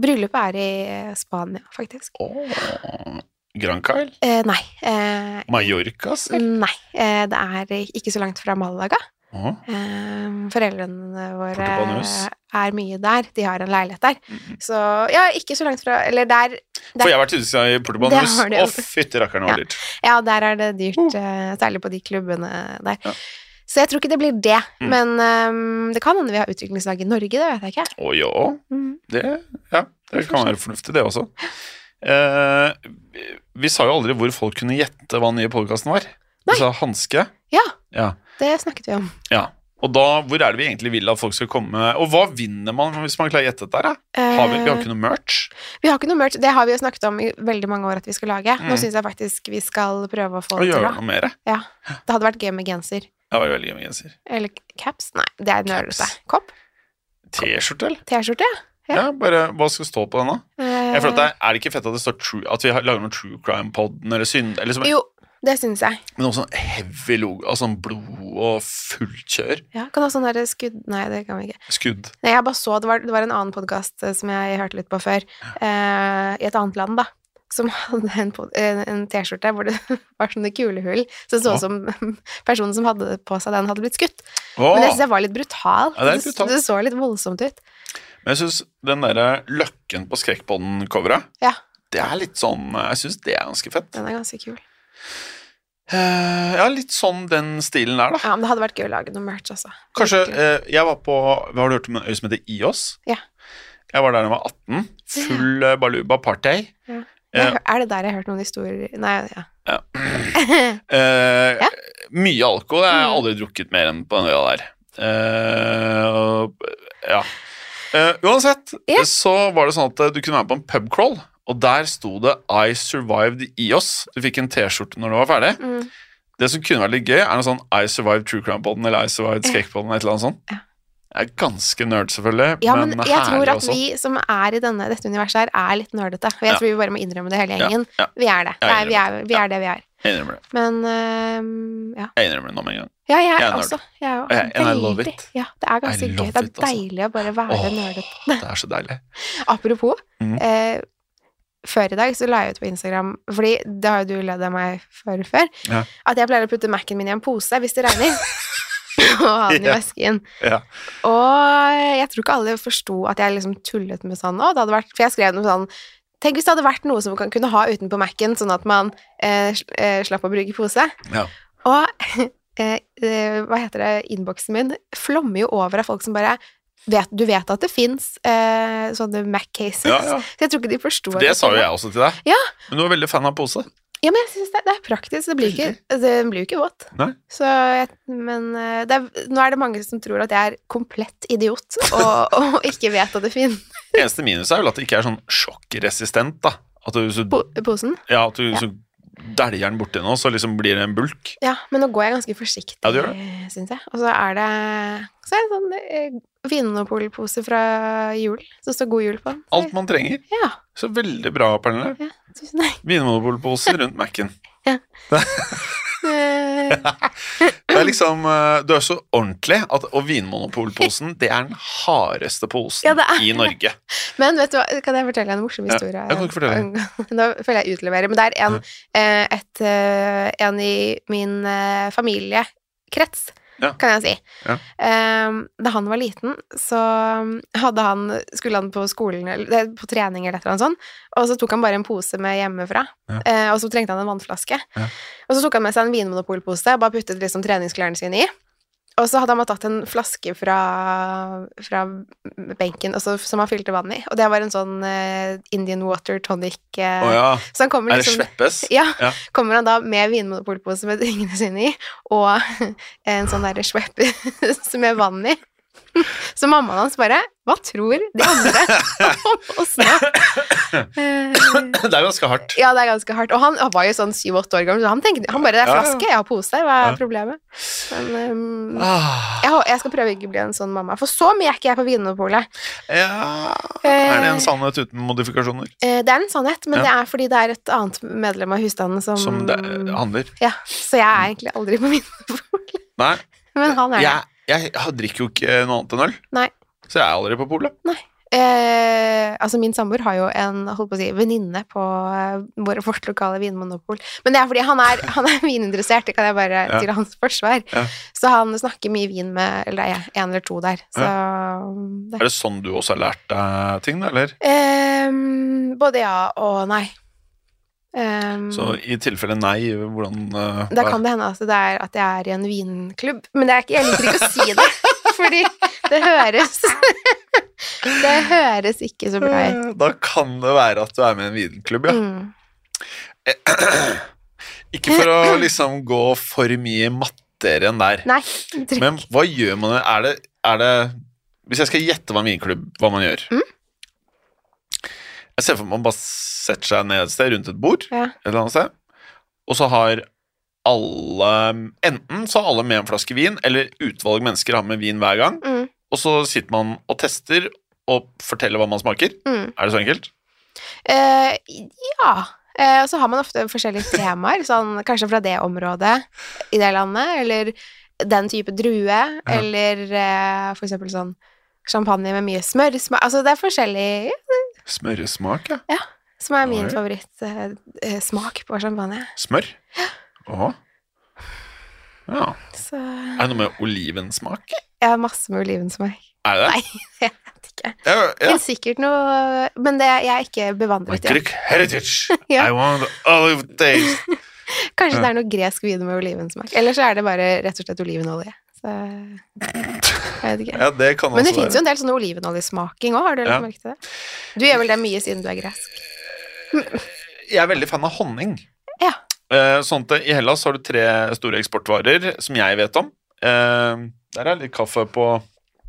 Speaker 3: Bryllupet er i eh, Spania, faktisk.
Speaker 2: Åh, Granca, eller?
Speaker 3: Eh, nei. Eh,
Speaker 2: Mallorca, selv?
Speaker 3: nei. Eh, det er ikke så langt fra Malaga.
Speaker 2: Åh,
Speaker 3: Eh, foreldrene våre
Speaker 2: Portobanos.
Speaker 3: er mye der. De har en leilighet der.
Speaker 2: Mhm.
Speaker 3: Så ja, ikke så langt fra Eller der
Speaker 2: For jeg har vært ute i Portugal
Speaker 3: Det
Speaker 2: Nus.
Speaker 3: har du.
Speaker 2: Å, fytti rakkeren, det var
Speaker 3: Ja.
Speaker 2: dyrt.
Speaker 3: Ja, der er det dyrt,
Speaker 2: Mm.
Speaker 3: eh, særlig på de klubbene der.
Speaker 2: Ja.
Speaker 3: Så jeg tror ikke det blir det.
Speaker 2: Mm.
Speaker 3: Men ehm, det kan hende vi har utviklingslag i Norge, det vet jeg ikke.
Speaker 2: Å ja.
Speaker 3: Mm.
Speaker 2: Det, ja, det kan være fornuftig, det også. Eh, vi- vi sa jo aldri hvor folk kunne gjette hva den nye podkasten var.
Speaker 3: Nei.
Speaker 2: Vi sa hanske.
Speaker 3: Ja,
Speaker 2: Ja.
Speaker 3: det snakket vi om.
Speaker 2: ja. Og da, hvor er det vi egentlig vil at folk skal komme? Og hva vinner man hvis man klarer å gjette dette? her, da? Har vi, vi har
Speaker 3: Eh,
Speaker 2: ikke noe merch.
Speaker 3: vi har ikke noe merch, det har vi jo snakket om i veldig mange år at vi skal lage.
Speaker 2: Mm.
Speaker 3: Nå syns jeg faktisk vi skal prøve å få
Speaker 2: Å
Speaker 3: det
Speaker 2: gjøre
Speaker 3: til.
Speaker 2: noe
Speaker 3: da.
Speaker 2: mer. Det
Speaker 3: Ja. Det hadde vært gøy med genser.
Speaker 2: var jo veldig gøy med genser.
Speaker 3: Eller caps? Nei, det er nølete.
Speaker 2: Caps.
Speaker 3: Kopp?
Speaker 2: T-skjorte, eller?
Speaker 3: T-skjorte? Ja.
Speaker 2: Ja. bare Hva skal stå på den, da?
Speaker 3: Eh,
Speaker 2: Jeg føler at det er, er det ikke fett at det står true, at vi har- lager noe True Crime-podden eller synd... Eller som,
Speaker 3: Eh, Jo, det syns jeg.
Speaker 2: men noe sånn heavy logo, altså sånn blod og fullt kjør.
Speaker 3: Ja, kan ha sånn derre skudd Nei, det kan vi ikke.
Speaker 2: Skudd.
Speaker 3: Nei, jeg bare så, det var, det var en annen podkast som jeg hørte litt på før, eh, i et annet land, da, som hadde en, pod- en, en T-skjorte hvor det var sånne kulehull, så det så
Speaker 2: Ja.
Speaker 3: ut som personen som hadde på seg den, hadde blitt skutt.
Speaker 2: Åh!
Speaker 3: Men jeg syns jeg var litt brutal.
Speaker 2: Ja, det er litt brutalt.
Speaker 3: Det, det så litt voldsomt ut.
Speaker 2: Men jeg syns den derre Løkken på Skrekkpodden-coveret,
Speaker 3: Ja.
Speaker 2: det er litt sånn Jeg syns det er ganske fett.
Speaker 3: Den er ganske kul.
Speaker 2: Eh, ja, litt sånn den stilen der, da.
Speaker 3: Ja, men det hadde vært gøy å lage noe merch, altså.
Speaker 2: Kanskje
Speaker 3: Virkelig.
Speaker 2: eh, Jeg var på Har du hørt om en øy som heter Ios?
Speaker 3: Ja.
Speaker 2: Jeg var der da jeg var 18. Full eh, baluba party.
Speaker 3: Ja.
Speaker 2: Eh,
Speaker 3: Jeg hø- Er det der jeg har hørt noen historier Nei, ja.
Speaker 2: Ja.
Speaker 3: ja.
Speaker 2: Eh, Mye alkohol. Jeg har
Speaker 3: Mm.
Speaker 2: aldri drukket mer enn på den øya der. Eh, og- ja. Eh, uansett,
Speaker 3: Ja.
Speaker 2: så var det sånn at eh, du kunne være med på en pubcrawl, og der sto det 'I survived Ios'. Du fikk en T-skjorte når du var ferdig.
Speaker 3: Mm.
Speaker 2: Det som kunne vært litt gøy, er noe sånn I survived true crime-poden eller I survived
Speaker 3: Ja.
Speaker 2: skrekkpoden eller et eller annet sånt.
Speaker 3: Ja.
Speaker 2: Jeg er ganske nerd, selvfølgelig,
Speaker 3: ja, men jeg
Speaker 2: herlig
Speaker 3: tror at
Speaker 2: også.
Speaker 3: vi som er i denne, dette universet her, er litt nerdete. Og jeg
Speaker 2: Ja.
Speaker 3: tror vi bare må innrømme det, hele
Speaker 2: Ja,
Speaker 3: gjengen.
Speaker 2: ja.
Speaker 3: Vi er det.
Speaker 2: Jeg
Speaker 3: Nei, vi er, vi
Speaker 2: Ja.
Speaker 3: er det vi er.
Speaker 2: Jeg innrømmer det.
Speaker 3: Men ehm, ja.
Speaker 2: Jeg innrømmer det nå med en gang.
Speaker 3: ja, jeg
Speaker 2: Jeg
Speaker 3: er
Speaker 2: er nerd.
Speaker 3: også. Jeg er jo
Speaker 2: Og jeg- and I love
Speaker 3: veldig-
Speaker 2: it.
Speaker 3: Ja, det er ganske
Speaker 2: I
Speaker 3: gøy.
Speaker 2: love
Speaker 3: Det er
Speaker 2: it, altså.
Speaker 3: deilig å bare være
Speaker 2: Åh.
Speaker 3: nerdete.
Speaker 2: Det er så deilig.
Speaker 3: Apropos,
Speaker 2: Mhm.
Speaker 3: eh, før i dag så la jeg ut på Instagram, fordi det har jo du ledd av meg for før,
Speaker 2: Ja.
Speaker 3: at jeg pleier å putte Mac-en min i en pose hvis det regner. Og ha den i
Speaker 2: Ja.
Speaker 3: vesken.
Speaker 2: Ja.
Speaker 3: Og jeg tror ikke alle forsto at jeg liksom tullet med sånn Å, det hadde vært For jeg skrev noe sånn Tenk hvis det hadde vært noe som man kan kunne ha utenpå Mac-en, sånn at man eh, sl- eh, slapp å bruke pose.
Speaker 2: Ja.
Speaker 3: Og eh, eh, hva heter det, innboksen min flommer jo over av folk som bare vet, Du vet at det fins eh, sånne Mac-cases.
Speaker 2: Ja, ja.
Speaker 3: Så jeg tror ikke de forsto
Speaker 2: For det sa jo jeg også til deg.
Speaker 3: Ja.
Speaker 2: Men du var veldig fan av pose.
Speaker 3: Ja, men jeg synes det, det er praktisk. Det blir ikke, det blir jo ikke våt.
Speaker 2: Nei.
Speaker 3: Så jeg, men eh, det er, nå er det mange som tror at jeg er komplett idiot og, og ikke vet at det finnes
Speaker 2: Eneste minus er vel at det ikke er sånn sjokkresistent, da. At du, så,
Speaker 3: po posen.
Speaker 2: ja, at du så dæljer den borti nå, så liksom blir det en bulk.
Speaker 3: Ja, men nå går jeg ganske forsiktig,
Speaker 2: Ja, du gjør
Speaker 3: syns jeg. Og så er det så er det en sånn eh, Vinmonopol-pose fra julen som står 'God jul' på. den. Så
Speaker 2: Alt man trenger.
Speaker 3: Ja,
Speaker 2: Så veldig bra, Pernille.
Speaker 3: tusen takk.
Speaker 2: Vinmonopolpose rundt Mac-en.
Speaker 3: Eh,
Speaker 2: Det er liksom, eh, Du er så ordentlig, at, og Vinmonopolposen det er den hardeste posen
Speaker 3: Ja, det er
Speaker 2: i Norge.
Speaker 3: Eh, Men vet du hva, kan jeg fortelle en morsom
Speaker 2: Ja,
Speaker 3: historie?
Speaker 2: jeg kan ikke fortelle.
Speaker 3: Nå føler jeg utleverer, men det er en, eh, et, eh, en i min eh, familiekrets
Speaker 2: Ja.
Speaker 3: kan jeg si.
Speaker 2: Ja.
Speaker 3: Ehm, da han var liten, så um, hadde han, skulle han på skolen, eller- det- på trening eller et eller annet sånt, og så tok han bare en pose med hjemmefra,
Speaker 2: Ja.
Speaker 3: Eh, og så trengte han en vannflaske.
Speaker 2: Ja.
Speaker 3: Og så tok han med seg en vinmonopolpose og bare puttet liksom treningsklærne sine i. Og så hadde han bare tatt en flaske fra, fra benken og så- som han fylte vann i. Og det var en sånn eh, Indian water tonic. eh,
Speaker 2: Å ja.
Speaker 3: Så han kommer
Speaker 2: Er det
Speaker 3: liksom
Speaker 2: Sveppes?
Speaker 3: ja.
Speaker 2: Ja.
Speaker 3: Kommer han da med vinmonopolpose med tingene sine i, og en sånn derre Schweppes med vann i. Så mammaen hans bare Hva tror de andre om oss nå? Eh,
Speaker 2: Det er ganske hardt.
Speaker 3: Ja, det er ganske hardt. Og han var jo sånn syv-åtte år gammel, så han tenkte han bare Det er
Speaker 2: Ja, ja.
Speaker 3: flaske, jeg har pose, hva
Speaker 2: Ja.
Speaker 3: er problemet? Men eh,
Speaker 2: Ah,
Speaker 3: jeg, hå- jeg skal prøve å ikke å bli en sånn mamma, for så mye er ikke jeg på Vinmonopolet.
Speaker 2: ja
Speaker 3: Eh,
Speaker 2: Er det en sannhet uten modifikasjoner?
Speaker 3: eh, det er en sannhet, men
Speaker 2: Ja.
Speaker 3: det er fordi det er et annet medlem av husstanden som,
Speaker 2: Som det
Speaker 3: Eh.
Speaker 2: handler?
Speaker 3: Ja, så jeg er egentlig aldri på Vinmonopolet.
Speaker 2: Nei.
Speaker 3: Men han er det.
Speaker 2: Jeg, jeg drikker jo ikke noe annet enn øl.
Speaker 3: Nei.
Speaker 2: Så jeg er aldri på polet.
Speaker 3: Eh, altså Min samboer har jo en holdt på å si, venninne på eh, vår- vårt lokale vinmonopol. Men det er fordi han er, han er vininteressert, det kan jeg bare
Speaker 2: Ja.
Speaker 3: til hans forsvar.
Speaker 2: Ja.
Speaker 3: Så han snakker mye vin med eller det er en eller to der. Så det.
Speaker 2: Er det sånn du også har lært deg ting, da, eller?
Speaker 3: Ehm, både ja og nei. Ehm,
Speaker 2: Så i tilfelle nei, hvordan eh,
Speaker 3: da
Speaker 2: hva-
Speaker 3: kan det hende at det er at jeg er i en vinklubb, men det er ikke, jeg liker ikke å si det, fordi det høres Det høres ikke så bra ut.
Speaker 2: Eh, Da kan det være at du er med i en vinklubb, ja.
Speaker 3: Mm.
Speaker 2: Ikke for å liksom gå for mye mattere enn der.
Speaker 3: Nei.
Speaker 2: Men hva gjør man? Er det, er det Hvis jeg skal gjette hva en vinklubb hva man gjør
Speaker 3: Mm.
Speaker 2: Jeg ser for meg man bare setter seg ned et sted rundt et bord,
Speaker 3: Ja.
Speaker 2: et eller annet sted, og så har alle Enten så har alle med en flaske vin, eller utvalg mennesker har med vin hver gang,
Speaker 3: Mm,
Speaker 2: og så sitter man og tester og forteller hva man smaker.
Speaker 3: mm.
Speaker 2: Er det så enkelt?
Speaker 3: Eh, ja. Eh, Og så har man ofte forskjellige temaer, sånn, kanskje fra det området i det landet, eller den type drue, eller eh, for eksempel sånn champagne med mye smør. sma- Altså det er forskjellig
Speaker 2: Smøresmak, ja.
Speaker 3: som er min
Speaker 2: Oi.
Speaker 3: favorittsmak på champagne.
Speaker 2: Smør? Åh. Ja.
Speaker 3: Så
Speaker 2: Er det noe med olivensmak?
Speaker 3: jeg har masse med olivensmak.
Speaker 2: Er det det?
Speaker 3: Nei, jeg vet ikke. Det
Speaker 2: Ja, ja.
Speaker 3: finnes sikkert noe Men det, jeg er ikke
Speaker 2: My
Speaker 3: bevandret i det.
Speaker 2: Greek heritage.
Speaker 3: Ja.
Speaker 2: I want olive taste.
Speaker 3: Kanskje
Speaker 2: Ja.
Speaker 3: det er noe gresk vin med olivensmak. Eller så er det bare rett og slett olivenolje. Så jeg vet ikke.
Speaker 2: Ja, det kan
Speaker 3: Men det
Speaker 2: også
Speaker 3: fins
Speaker 2: være.
Speaker 3: jo en del sånn olivenoljesmaking òg, har du
Speaker 2: Ja.
Speaker 3: lagt merke til det? Du gjør vel det mye siden du er gresk?
Speaker 2: Jeg er veldig fan av honning.
Speaker 3: Ja.
Speaker 2: Eh, Sånn at I Hellas har du tre store eksportvarer som jeg vet om. Eh, Der er litt kaffe på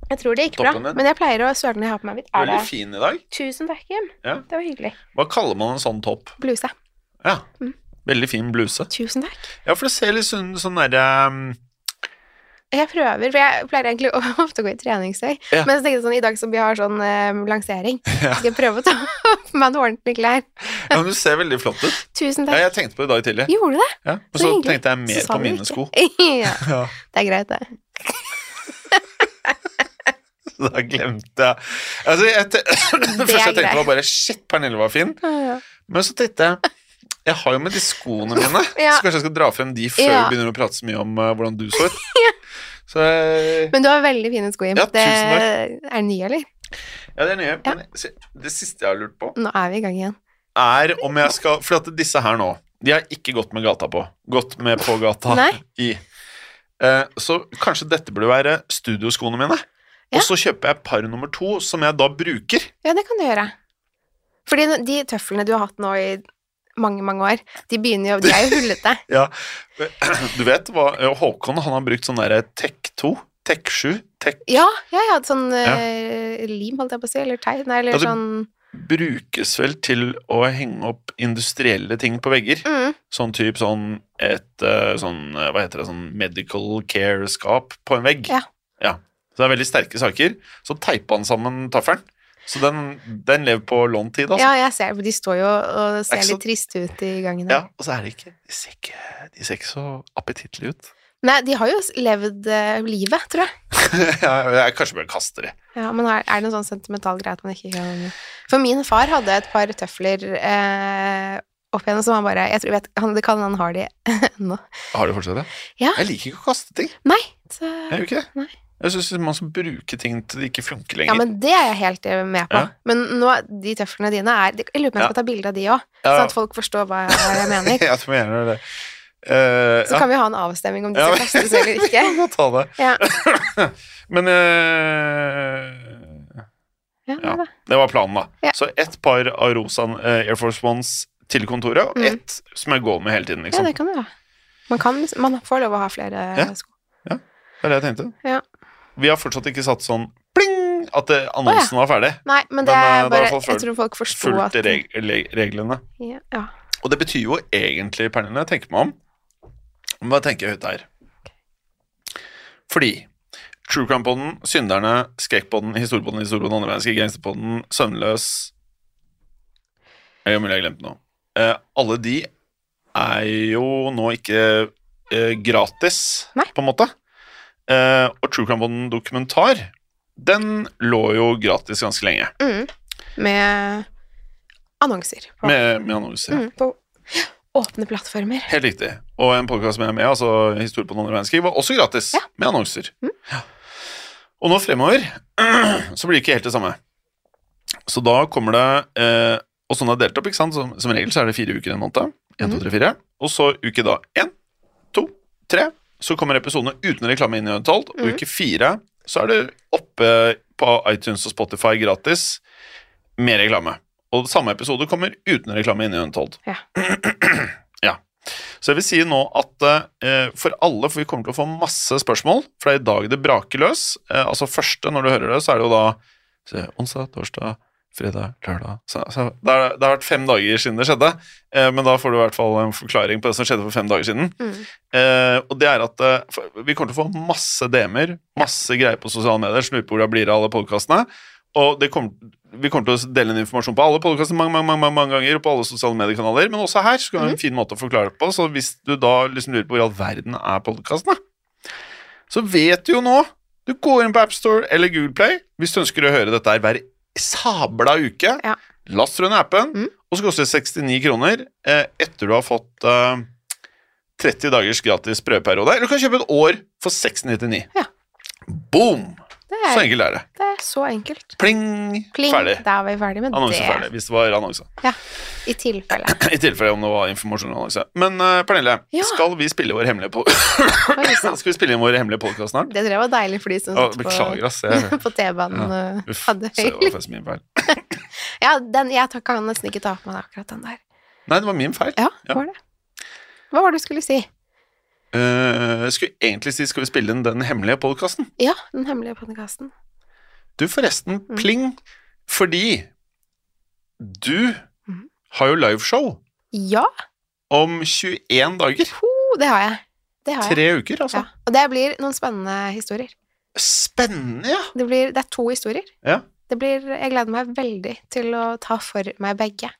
Speaker 3: Jeg tror det gikk
Speaker 2: Toppen
Speaker 3: bra,
Speaker 2: din.
Speaker 3: men jeg pleier å søle når jeg har på meg hvitt. Er det
Speaker 2: Veldig fin i dag.
Speaker 3: Tusen takk, Jim.
Speaker 2: Ja.
Speaker 3: Det var hyggelig.
Speaker 2: Hva kaller man en sånn topp?
Speaker 3: Bluse.
Speaker 2: Ja.
Speaker 3: Mm.
Speaker 2: Veldig fin bluse.
Speaker 3: Tusen takk.
Speaker 2: Ja, for det ser litt sånn, sånn derre
Speaker 3: Jeg prøver, for jeg pleier egentlig å- ofte å gå i treningstøy.
Speaker 2: Ja.
Speaker 3: Men så tenkte jeg sånn, i dag som vi har sånn eh, lansering, skal jeg prøve å ta på meg noen ordentlige klær.
Speaker 2: Ja, men du ser veldig flott ut.
Speaker 3: Tusen
Speaker 2: Ja,
Speaker 3: takk.
Speaker 2: jeg tenkte på det i dag tidlig.
Speaker 3: Gjorde du det?
Speaker 2: Ja. Og
Speaker 3: Så
Speaker 2: så
Speaker 3: hyggelig.
Speaker 2: tenkte jeg
Speaker 3: Så
Speaker 2: mer
Speaker 3: sa
Speaker 2: på
Speaker 3: du
Speaker 2: mine
Speaker 3: ikke.
Speaker 2: sko.
Speaker 3: ja,
Speaker 2: Ja,
Speaker 3: det er greit, det.
Speaker 2: så da glemte jeg Altså, jeg te Det første jeg tenkte, var bare Shit, Pernille var fin.
Speaker 3: Ja.
Speaker 2: Men så tenkte jeg Jeg har jo med de skoene mine,
Speaker 3: Ja.
Speaker 2: så kanskje jeg skal dra frem de før
Speaker 3: Ja.
Speaker 2: vi begynner å prate så mye om eh, hvordan du så ut. Så eh,
Speaker 3: Men du har veldig fine sko, Jim.
Speaker 2: Ja,
Speaker 3: det
Speaker 2: tusen
Speaker 3: er ny, eller?
Speaker 2: Ja, det er nye. Men se, det siste jeg har lurt på,
Speaker 3: Nå er vi i gang igjen.
Speaker 2: er om jeg skal For at disse her nå, de har ikke gått med gata på. Gått med på gata
Speaker 3: Nei.
Speaker 2: i. Eh, så kanskje dette burde være studioskoene mine.
Speaker 3: Ja.
Speaker 2: Og så kjøper jeg par nummer to, som jeg da bruker.
Speaker 3: Ja, det kan du gjøre. Fordi nå- de tøflene du har hatt nå i mange, mange år, de begynner jo De er jo hullete.
Speaker 2: Ja. Du vet hva eh, Håkon han har brukt sånn derre Tek 2, Tek 7, Tek
Speaker 3: Ja, ja, jeg hadde sånn eh, lim, holdt jeg på å si, eller teip, nei, eller
Speaker 2: Ja, det-
Speaker 3: sånn
Speaker 2: brukes vel til å henge opp industrielle ting på vegger.
Speaker 3: mm,
Speaker 2: Sånn type sånn et eh, sånn, eh, hva heter det, sånn medical care-skap på en vegg.
Speaker 3: Ja.
Speaker 2: Så det er veldig sterke saker. Så teipa han sammen taffelen. Så den, den lever på lånt tid, altså.
Speaker 3: Ja, jeg ser de står jo og
Speaker 2: Det er
Speaker 3: ser
Speaker 2: ikke så-
Speaker 3: litt triste ut i gangen.
Speaker 2: Ja,
Speaker 3: her.
Speaker 2: og så er det ikke De ser ikke, de ser ikke så appetittlige ut.
Speaker 3: Nei, de har jo s- levd eh, livet, tror jeg.
Speaker 2: ja, jeg kanskje bør kaste det.
Speaker 3: Ja, men er, er det noen sånn sentimental greie at man ikke kan For min far hadde et par tøfler eh, opp igjen, som han bare Jeg tror, vet, han, det kan han har de ennå.
Speaker 2: Har du fortsatt det?
Speaker 3: Ja.
Speaker 2: Jeg liker ikke å kaste ting.
Speaker 3: Nei, eh,
Speaker 2: Er det ikke det?
Speaker 3: Nei.
Speaker 2: Jeg syns man skal bruke ting til det ikke funker
Speaker 3: Ja,
Speaker 2: lenger.
Speaker 3: men det er jeg helt eh, med på.
Speaker 2: Ja.
Speaker 3: Men nå, de tøflene dine er Jeg lurer på om jeg skal ta bilde av de òg,
Speaker 2: Ja.
Speaker 3: sånn at folk forstår hva jeg, hva jeg mener.
Speaker 2: jeg tror jeg gjør det. Eh,
Speaker 3: Så kan vi ha en avstemning om de
Speaker 2: Ja,
Speaker 3: skal
Speaker 2: men-
Speaker 3: kastes eller ikke.
Speaker 2: Vi må ta det.
Speaker 3: Ja,
Speaker 2: Men eh,
Speaker 3: ja,
Speaker 2: Ja.
Speaker 3: nei da.
Speaker 2: det var planen, da.
Speaker 3: Ja.
Speaker 2: Så ett par av Rosan eh, Air Force Ones til kontoret, og
Speaker 3: Mm.
Speaker 2: ett som jeg går med hele tiden.
Speaker 3: ja
Speaker 2: Liksom.
Speaker 3: det kan du ha. Man, kan, liksom- man får lov å ha flere eh,
Speaker 2: Ja.
Speaker 3: sko.
Speaker 2: Det er det jeg tenkte.
Speaker 3: Ja.
Speaker 2: Vi har fortsatt ikke satt sånn pling at eh, annonsen var ferdig.
Speaker 3: Nei, men
Speaker 2: Men,
Speaker 3: det
Speaker 2: eh,
Speaker 3: er
Speaker 2: da
Speaker 3: bare
Speaker 2: har folk
Speaker 3: Jeg
Speaker 2: fulgt-
Speaker 3: tror folk forsto at
Speaker 2: Fulgt reg le- reglene.
Speaker 3: Ja, ja.
Speaker 2: Og det betyr jo egentlig, Pernille, jeg tenker meg om Hva tenker jeg høyt her? Fordi True Crime-podden, Synderne, Skrekkpodden, Historiepodden, Historiepodden, Andre mennesker, Gangsterpodden, Søvnløs Jeg er mulig jeg har glemt noe. Eh, alle de er jo nå ikke eh, gratis,
Speaker 3: Nei.
Speaker 2: på en måte. Eh, og True Crime-podden dokumentar, den lå jo gratis ganske lenge.
Speaker 3: Mm. Med annonser på,
Speaker 2: Med, med annonser.
Speaker 3: mm, på åpne plattformer.
Speaker 2: Helt riktig. Og en podkast med med, altså Historie på den andre verdenskrig, var også gratis,
Speaker 3: Ja.
Speaker 2: med annonser. Ja. Og nå fremover så blir det ikke helt det samme. Så da kommer det eh, Og sånn er det delt opp, ikke sant? Som, som regel så er det fire uker i en måned. En, to, tre, fire. Og så uke da én, to, tre. Så kommer episodene uten reklame inn i talt. Og uke fire så er det oppe på iTunes og Spotify gratis med reklame. Og samme episode kommer uten reklame inn i talt.
Speaker 3: Ja.
Speaker 2: ja. Så jeg vil si nå at eh, for alle, for vi kommer til å få masse spørsmål, for det er i dag det braker løs. Eh, altså første, når du hører det, så er det jo da se, onsdag, torsdag, fredag, lørdag så, så, det, har, det har vært fem dager siden det skjedde, eh, men da får du i hvert fall en forklaring på det som skjedde for fem dager siden.
Speaker 3: Mm.
Speaker 2: Eh, og det er at eh, for- vi kommer til å få masse DM-er, masse greier på sosiale medier, som lurer på hvor det blir av alle podkastene. Og det kommer, vi kommer til å dele inn informasjon på alle podkastene mange, mange, mange, mange, mange ganger, og på alle sosiale mediekanaler, men også her. Så kan vi ha
Speaker 3: Mhm.
Speaker 2: en fin måte å forklare det på. Så hvis du da liksom lurer på hvor i all verden er podkastene, så vet du jo nå Du går inn på AppStore eller Google Play hvis du ønsker å høre dette her hver sabla uke.
Speaker 3: Ja.
Speaker 2: Last rundt appen,
Speaker 3: Mhm.
Speaker 2: og så koster det 69 kroner eh, etter du har fått eh, 30 dagers gratis prøveperiode. Eller du kan kjøpe et år for 699.
Speaker 3: Ja.
Speaker 2: Boom!
Speaker 3: Det
Speaker 2: Så
Speaker 3: er,
Speaker 2: enkelt er det.
Speaker 3: det er så enkelt.
Speaker 2: Pling!
Speaker 3: Pling,
Speaker 2: Ferdig.
Speaker 3: da er vi ferdig med
Speaker 2: Annonse
Speaker 3: det.
Speaker 2: ferdig, hvis det var annonse.
Speaker 3: I tilfelle.
Speaker 2: I tilfelle om det var informasjonsannonse. Men eh, Pernille,
Speaker 3: Ja.
Speaker 2: skal vi spille vår hemmelige po
Speaker 3: Oi, sant.
Speaker 2: Skal vi spille inn vår hemmelige podkast snart?
Speaker 3: Det tror jeg var deilig for de som
Speaker 2: Å,
Speaker 3: satt på,
Speaker 2: beklager, ass. Jeg,
Speaker 3: på T-banen. og
Speaker 2: uff,
Speaker 3: Hadde
Speaker 2: så det var faktisk min feil.
Speaker 3: Ja, den, jeg tar- kan nesten ikke ta på meg akkurat den der.
Speaker 2: Nei, det var min feil.
Speaker 3: Ja,
Speaker 2: Ja.
Speaker 3: var det? Hva var det du skulle si?
Speaker 2: Eh, jeg skulle egentlig si skal vi spille inn den hemmelige podkasten.
Speaker 3: Ja, den hemmelige podkasten.
Speaker 2: Du, forresten,
Speaker 3: Mm.
Speaker 2: pling! Fordi du
Speaker 3: Mhm.
Speaker 2: har jo liveshow
Speaker 3: Ja,
Speaker 2: om 21 dager.
Speaker 3: oh, det har jeg. Det har jeg.
Speaker 2: Tre uker, altså.
Speaker 3: Ja. Og det blir noen spennende historier.
Speaker 2: Spennende, ja!
Speaker 3: Det, blir, det er to historier.
Speaker 2: Ja.
Speaker 3: Det blir, jeg gleder meg veldig til å ta for meg begge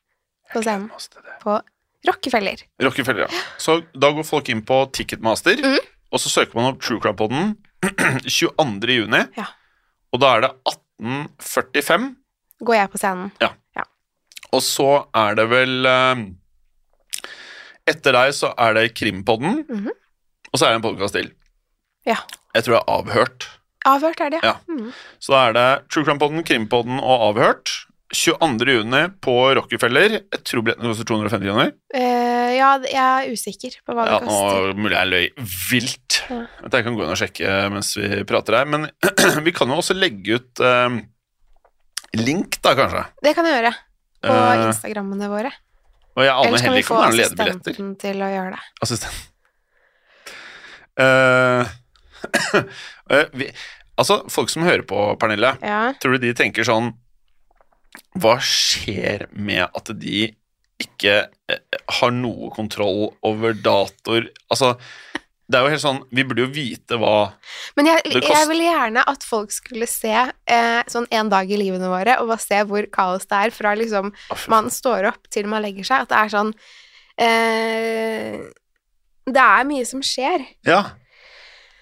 Speaker 3: på scenen.
Speaker 2: Masse til det.
Speaker 3: På Rockefeller.
Speaker 2: Rockefeller, ja. Så da går folk inn på Ticketmaster,
Speaker 3: Mhm.
Speaker 2: og så søker man opp True Crime Podden 22. juni,
Speaker 3: Ja.
Speaker 2: og da er det 18.45,
Speaker 3: Går jeg på scenen.
Speaker 2: og så er det vel eh, Etter deg så er det Krimpodden,
Speaker 3: Mhm.
Speaker 2: og så er det en podkast til.
Speaker 3: Ja.
Speaker 2: Jeg tror det er Avhørt.
Speaker 3: Avhørt er det,
Speaker 2: Ja.
Speaker 3: ja. Mm.
Speaker 2: Så da er det True Crime Podden, Krimpodden og Avhørt. 22. juni på Rockefeller. Jeg tror billettene koster 250 kroner.
Speaker 3: Eh, ja, jeg er usikker på hva det
Speaker 2: Ja,
Speaker 3: koster.
Speaker 2: nå mulig jeg løy vilt.
Speaker 3: Ja.
Speaker 2: At jeg kan gå inn og sjekke eh, mens vi prater her. Men vi kan jo også legge ut eh, link, da, kanskje.
Speaker 3: Det kan jeg gjøre. På
Speaker 2: Eh,
Speaker 3: Instagrammene våre.
Speaker 2: og jeg aner
Speaker 3: Ellers
Speaker 2: heller
Speaker 3: kan vi
Speaker 2: ikke
Speaker 3: få
Speaker 2: om det er noen ledebilletter.
Speaker 3: assistenten til å gjøre det.
Speaker 2: Assistent. Eh, eh, vi, altså, folk som hører på, Pernille,
Speaker 3: Ja.
Speaker 2: tror du de tenker sånn Hva skjer med at de ikke eh, har noe kontroll over datoer? Altså, det er jo helt sånn Vi burde jo vite hva
Speaker 3: Men jeg,
Speaker 2: Det kost-
Speaker 3: jeg ville gjerne at folk skulle se eh, sånn en dag i livene våre, og bare se hvor kaos det er fra liksom
Speaker 2: Å, fy
Speaker 3: man står opp til man legger seg. At det er sånn eh, Det er mye som skjer.
Speaker 2: Ja.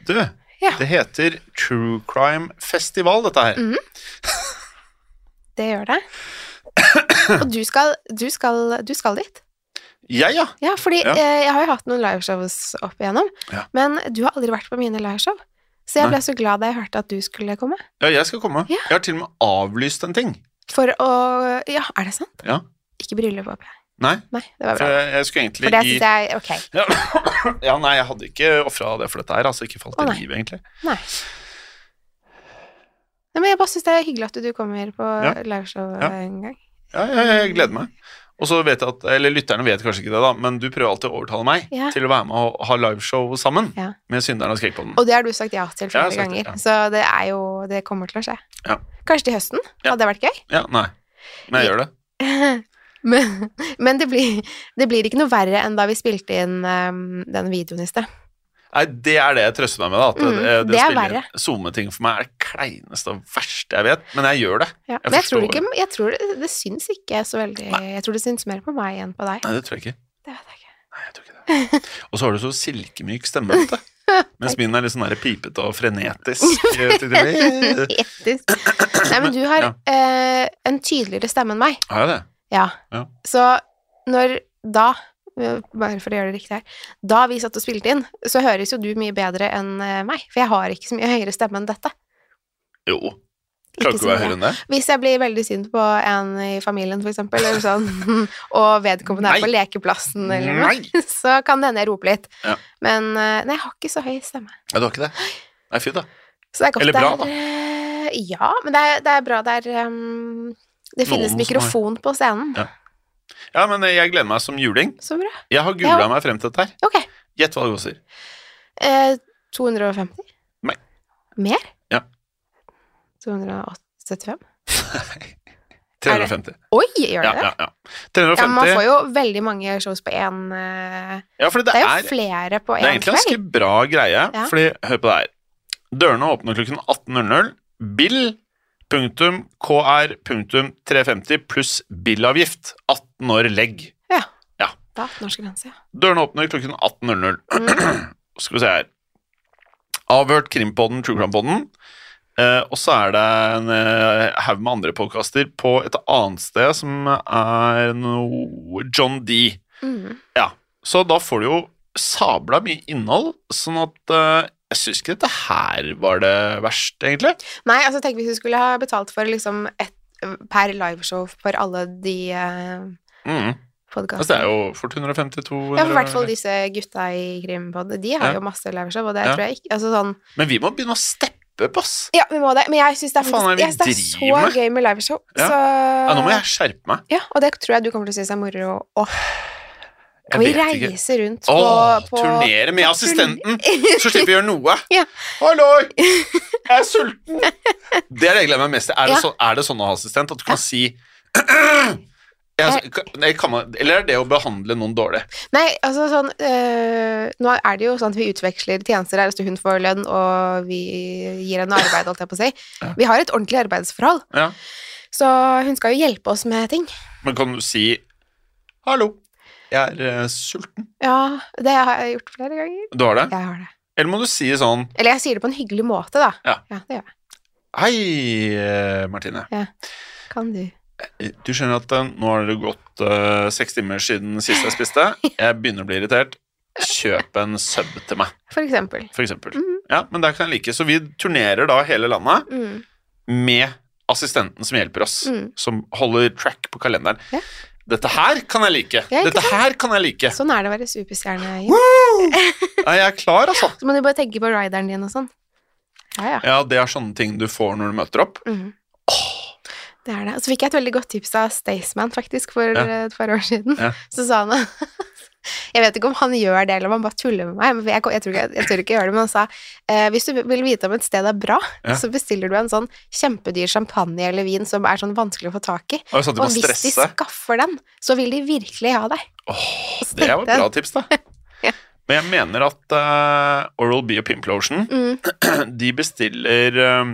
Speaker 2: Du,
Speaker 3: Ja.
Speaker 2: det heter True Crime Festival, dette her.
Speaker 3: Mm. Det gjør det. Og du skal, du skal, du skal dit.
Speaker 2: Jeg, ja.
Speaker 3: Ja, fordi
Speaker 2: Ja.
Speaker 3: Eh, jeg har jo hatt noen liveshows opp igjennom,
Speaker 2: Ja.
Speaker 3: men du har aldri vært på mine liveshow. Så jeg
Speaker 2: Nei.
Speaker 3: ble så glad da jeg hørte at du skulle komme.
Speaker 2: Ja, jeg skal komme.
Speaker 3: Ja.
Speaker 2: Jeg har til og med avlyst en ting.
Speaker 3: For å Ja, er det sant?
Speaker 2: Ja.
Speaker 3: Ikke bryllup, håper jeg.
Speaker 2: Nei,
Speaker 3: Nei, det var
Speaker 2: for
Speaker 3: bra.
Speaker 2: jeg, jeg skulle egentlig
Speaker 3: For det
Speaker 2: i
Speaker 3: syns jeg Ok.
Speaker 2: ja, ja, nei, jeg hadde ikke ofra det for dette her. Altså, ikke falt
Speaker 3: Å,
Speaker 2: i
Speaker 3: nei.
Speaker 2: livet, egentlig.
Speaker 3: Nei. Nei, men jeg bare syns det er hyggelig at du kommer på
Speaker 2: Ja.
Speaker 3: liveshow
Speaker 2: Ja.
Speaker 3: en gang.
Speaker 2: Ja, jeg, jeg gleder meg. Og så vet jeg at, eller Lytterne vet kanskje ikke det, da, men du prøver alltid å overtale meg
Speaker 3: Ja.
Speaker 2: til å være med og ha liveshow sammen
Speaker 3: Ja.
Speaker 2: med Synderen og Skrekkpodden.
Speaker 3: Og det har du sagt ja til
Speaker 2: Jeg har
Speaker 3: flere
Speaker 2: sagt det,
Speaker 3: ganger,
Speaker 2: ja.
Speaker 3: så det er jo Det kommer til å skje.
Speaker 2: Ja.
Speaker 3: Kanskje til høsten?
Speaker 2: Ja.
Speaker 3: Hadde det vært gøy?
Speaker 2: Ja, nei. Men jeg gjør det.
Speaker 3: Men, men det, blir, det blir ikke noe verre enn da vi spilte inn um, den videoen i sted.
Speaker 2: Nei, Det er det jeg trøster meg med. da At
Speaker 3: Mm,
Speaker 2: det,
Speaker 3: det er
Speaker 2: spiller
Speaker 3: verre.
Speaker 2: inn SoMe-ting for meg er det kleineste og verste jeg vet, men jeg gjør det.
Speaker 3: Ja.
Speaker 2: Jeg
Speaker 3: Men jeg tror,
Speaker 2: forstår.
Speaker 3: ikke, jeg tror det, det syns ikke så veldig Jeg tror det syns mer på meg enn på deg.
Speaker 2: Nei, det tror jeg ikke.
Speaker 3: Det vet jeg ikke.
Speaker 2: Nei, jeg tror ikke det. Og så har du så silkemyk stemme, vet du. Mens min er litt sånn der pipete og frenetisk. Har
Speaker 3: Etisk. Nei, men du har eh, en tydeligere stemme enn meg.
Speaker 2: jeg det?
Speaker 3: Ja.
Speaker 2: Ja.
Speaker 3: Så når da eh, bare for å gjøre det riktig her Da vi satt og spilte inn, så høres jo du mye bedre enn eh, meg. For jeg har ikke så mye høyere stemme enn dette.
Speaker 2: Jo. Klarer
Speaker 3: Ikke
Speaker 2: ikke å være
Speaker 3: så mye.
Speaker 2: høyere enn det?
Speaker 3: Hvis jeg blir veldig sint på en i familien, for eksempel, eller sånn, og vedkommende er på lekeplassen, eller noe,
Speaker 2: Nei!
Speaker 3: så kan det hende jeg roper litt.
Speaker 2: Ja.
Speaker 3: Men eh, nei, jeg har ikke så høy stemme.
Speaker 2: Nei, du har ikke det? Nei, fy da.
Speaker 3: Så det er godt
Speaker 2: Eller bra,
Speaker 3: det er, eh, Ja, men det er, det er bra det er ehm, Det finnes
Speaker 2: Noen som
Speaker 3: mikrofon på scenen.
Speaker 2: Ja. Ja, men jeg gleder meg som juling.
Speaker 3: Så bra.
Speaker 2: Jeg har googla meg frem til dette her.
Speaker 3: Ok.
Speaker 2: Gjett hva det koster.
Speaker 3: Eh, 250?
Speaker 2: Nei.
Speaker 3: Mer?
Speaker 2: Ja.
Speaker 3: 275?
Speaker 2: 350.
Speaker 3: Oi, gjør det
Speaker 2: Ja, ja,
Speaker 3: det?
Speaker 2: ja.
Speaker 3: Ja, men
Speaker 2: 350.
Speaker 3: man
Speaker 2: Ja,
Speaker 3: får jo veldig mange shows på én eh,
Speaker 2: for det
Speaker 3: Det er jo
Speaker 2: er, det
Speaker 3: flere på
Speaker 2: er
Speaker 3: én
Speaker 2: egentlig en ganske
Speaker 3: kveld.
Speaker 2: bra greie,
Speaker 3: Ja.
Speaker 2: fordi hør på det her. Dørene åpner klokken 18.00. Bill.kr.350 pluss bilavgift. 18 år legg.
Speaker 3: Da, norsk grense, ja.
Speaker 2: Dørene åpner klokken 18.00.
Speaker 3: Mm.
Speaker 2: Skal vi se her. Avhørt Krimpodden, True Crime-podden. Eh, og så er det en eh, haug med andre podkaster på et annet sted som er noe John D.
Speaker 3: Mm.
Speaker 2: Så da får du jo sabla mye innhold, sånn at eh, jeg syns ikke dette her var det verste, egentlig.
Speaker 3: Nei, altså tenk hvis du skulle ha betalt for liksom ett per liveshow for alle de uh,
Speaker 2: Mm. Altså, det
Speaker 3: podkastene.
Speaker 2: er jo fort 152
Speaker 3: Ja, for i hvert fall disse gutta i Krimpod. De har
Speaker 2: Ja.
Speaker 3: jo masse liveshow, og det
Speaker 2: Ja.
Speaker 3: tror jeg ikke Altså sånn
Speaker 2: Men vi må begynne å steppe opp, ass!
Speaker 3: Ja, vi må det. Men jeg syns det er,
Speaker 2: Hva faen er
Speaker 3: faktisk,
Speaker 2: det vi
Speaker 3: jeg synes det er
Speaker 2: driver
Speaker 3: så
Speaker 2: med?
Speaker 3: gøy med liveshow,
Speaker 2: Ja.
Speaker 3: så
Speaker 2: Ja, nå må jeg skjerpe meg.
Speaker 3: Ja, og det tror jeg du kommer til å synes er moro òg.
Speaker 2: Jeg
Speaker 3: Og vi
Speaker 2: vet ikke.
Speaker 3: reiser rundt på,
Speaker 2: Åh,
Speaker 3: på
Speaker 2: turnere med assistenten, så slipper vi å gjøre noe.
Speaker 3: Ja.
Speaker 2: Halloi, jeg er sulten. Det er det jeg gleder meg mest til. Er, det
Speaker 3: Ja.
Speaker 2: så- er det sånn å ha assistent at du kan si
Speaker 3: Eh.
Speaker 2: jeg, jeg kan, man- Eller er det å behandle noen dårlig?
Speaker 3: Nei, altså sånn øh, Nå er det jo sånn at vi utveksler tjenester her, altså hun får lønn, og vi gir henne arbeid, holdt jeg på å si.
Speaker 2: Ja.
Speaker 3: Vi har et ordentlig arbeidsforhold,
Speaker 2: Ja.
Speaker 3: så hun skal jo hjelpe oss med ting.
Speaker 2: Men kan du si 'hallo, jeg er eh, sulten'?
Speaker 3: Ja, det har jeg gjort flere ganger.
Speaker 2: Du har det?
Speaker 3: Jeg har det.
Speaker 2: Eller må du si sånn
Speaker 3: Eller jeg sier det på en hyggelig måte, da.
Speaker 2: Ja.
Speaker 3: det gjør jeg.
Speaker 2: 'hei, eh, Martine'.
Speaker 3: Kan du.
Speaker 2: Du skjønner at eh, nå har det gått eh, seks timer siden sist jeg spiste. Jeg begynner å bli irritert. Kjøp en sub til meg.
Speaker 3: For eksempel.
Speaker 2: for eksempel.
Speaker 3: Mhm.
Speaker 2: Ja, men der kan jeg like. Så vi turnerer da hele landet
Speaker 3: Mm,
Speaker 2: med assistenten som hjelper oss,
Speaker 3: Mm.
Speaker 2: som holder track på kalenderen.
Speaker 3: Ja.
Speaker 2: Dette her kan jeg like!
Speaker 3: Ja, ikke
Speaker 2: Dette her kan jeg like!
Speaker 3: Sånn er det å være superstjerne. Jim.
Speaker 2: Woo! Nei, jeg er klar, altså.
Speaker 3: Så må du bare tenke på rideren din og sånn. Ja, ja.
Speaker 2: Ja, det er sånne ting du får når du møter opp.
Speaker 3: Mm. Det er det. Og så fikk jeg et veldig godt tips av Staysman, faktisk, for
Speaker 2: Ja.
Speaker 3: eh, et par år siden.
Speaker 2: Ja.
Speaker 3: Så sa han Jeg vet ikke om han gjør det, eller om han bare tuller med meg, men jeg, jeg, tror, ikke, jeg tør ikke gjøre det, men han sa eh, hvis du vil vite om et sted er bra,
Speaker 2: Ja.
Speaker 3: så bestiller du en sånn kjempedyr champagne eller vin som er sånn vanskelig å få tak i.
Speaker 2: Og jeg sa at du
Speaker 3: Og
Speaker 2: må
Speaker 3: hvis de
Speaker 2: stresse.
Speaker 3: skaffer den, så vil de virkelig ha deg.
Speaker 2: Åh, det var et bra tips, da.
Speaker 3: Ja.
Speaker 2: Men jeg mener at eh, Oral-B og Pimplotion
Speaker 3: Mm.
Speaker 2: de bestiller eh,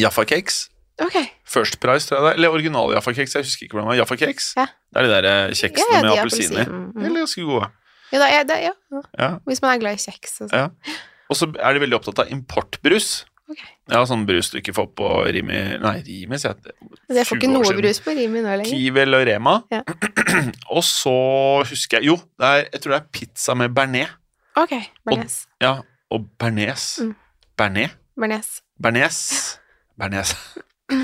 Speaker 2: Jaffa Cakes.
Speaker 3: Ok.
Speaker 2: First Price, tror jeg det er. Eller original Jaffa Cakes. Jeg husker ikke hvordan det var. Jaffa Cakes.
Speaker 3: Ja.
Speaker 2: Det er de der eh, kjeksene
Speaker 3: Ja, ja,
Speaker 2: med
Speaker 3: de Mm.
Speaker 2: appelsiner.
Speaker 3: appelsin.
Speaker 2: De er ganske gode.
Speaker 3: Ja, da, ja, da, ja. ja.
Speaker 2: Ja.
Speaker 3: Hvis man er glad i kjeks og sånn.
Speaker 2: Ja. Og så er de veldig opptatt av importbrus.
Speaker 3: Ok.
Speaker 2: Ja, sånn brus du ikke får på Rimi Nei, Rimi, sier jeg.
Speaker 3: Altså, Jeg får ikke
Speaker 2: 20 år
Speaker 3: noe
Speaker 2: siden.
Speaker 3: brus på Rimi nå lenger.
Speaker 2: Kivel og Rema.
Speaker 3: Ja.
Speaker 2: og så husker jeg Jo, det er, jeg tror det er pizza med bearnés.
Speaker 3: Ok, Bernes.
Speaker 2: Ja, og bearnés.
Speaker 3: Mm.
Speaker 2: Bernet.
Speaker 3: Bernes.
Speaker 2: Bernes. Bernes.
Speaker 3: Bernes.